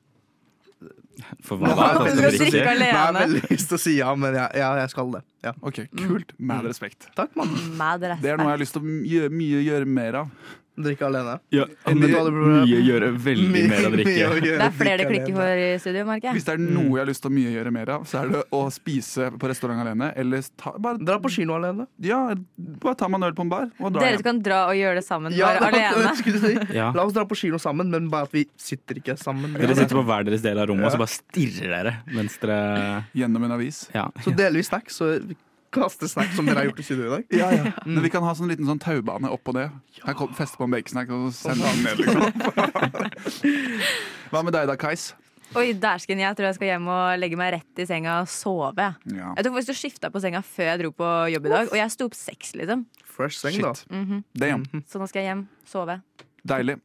A: For hva da?
E: Hvorfor
A: At
E: skal
A: de
E: du drikke
A: drikker?
F: Nei, jeg har
E: alene?
F: veldig lyst til å si ja, men ja, ja, jeg skal det. Ja.
B: Ok, Kult. Med respekt.
F: Takk, mann.
E: Med
B: Det er noe jeg har lyst til å gjøre, mye gjøre mer av.
F: Drikke alene.
A: Ja,
F: Men
A: mye,
F: da hadde du-
A: mye gjøre, veldig mer å
F: Mye å
A: drikke.
F: gjøre,
E: Det er flere det
F: drikke
E: klikker
F: alene.
E: for i studio, merker jeg.
B: Hvis det er noe jeg har lyst til å mye gjøre mer av, så er det å spise på restaurant alene, eller ta, bare,
F: Dra på kino alene.
B: ja, bare ta meg en øl på en bar og dra
E: Dere
B: hjem.
E: kan dra og gjøre det sammen, bare
F: det var det
E: alene.
F: jeg skulle si.
A: Ja.
F: La oss dra på kino sammen, men bare at vi sitter ikke sammen.
A: Dere sitter på hver deres del av rommet og så bare stirrer dere mens dere
B: Gjennom en avis.
A: Ja.
F: Så deler vi snacks, så vi kaster snacks som dere har gjort i studio i dag.
B: Ja, ja. Men vi kan ha sånn liten sånn taubane oppå det. Her kom, feste på en baconsnack og så sende den ned, liksom. Hva med deg da, Kais?
E: Oi, dæsken, jeg tror jeg skal hjem og legge meg rett i senga og sove. jeg.
B: Ja.
E: Jeg tror faktisk du skifta på senga før jeg dro på jobb i dag, og jeg sto opp seks, liksom.
F: Fresh seng, da.
B: Shit. Damn.
E: Så nå skal jeg hjem, sove.
B: Deilig.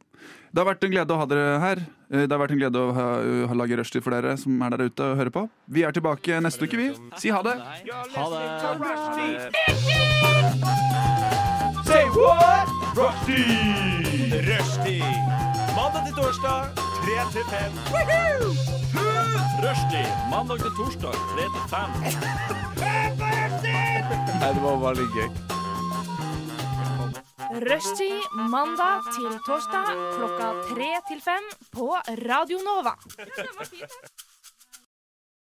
B: Det har vært en glede å ha dere her. Eh, Det har vært en glede å ha, ha laget rushtid for dere som er der ute og hører på. Vi er tilbake neste uke, vi. Si ha det.
C: Say what? Rushdie! Rushdie. Mandag til torsdag, 3 til 5. Rushdie. Mandag til torsdag, 3 til 5.
B: det var bare litt gøy.
D: Rushtid mandag til torsdag klokka tre til fem på Radio Nova.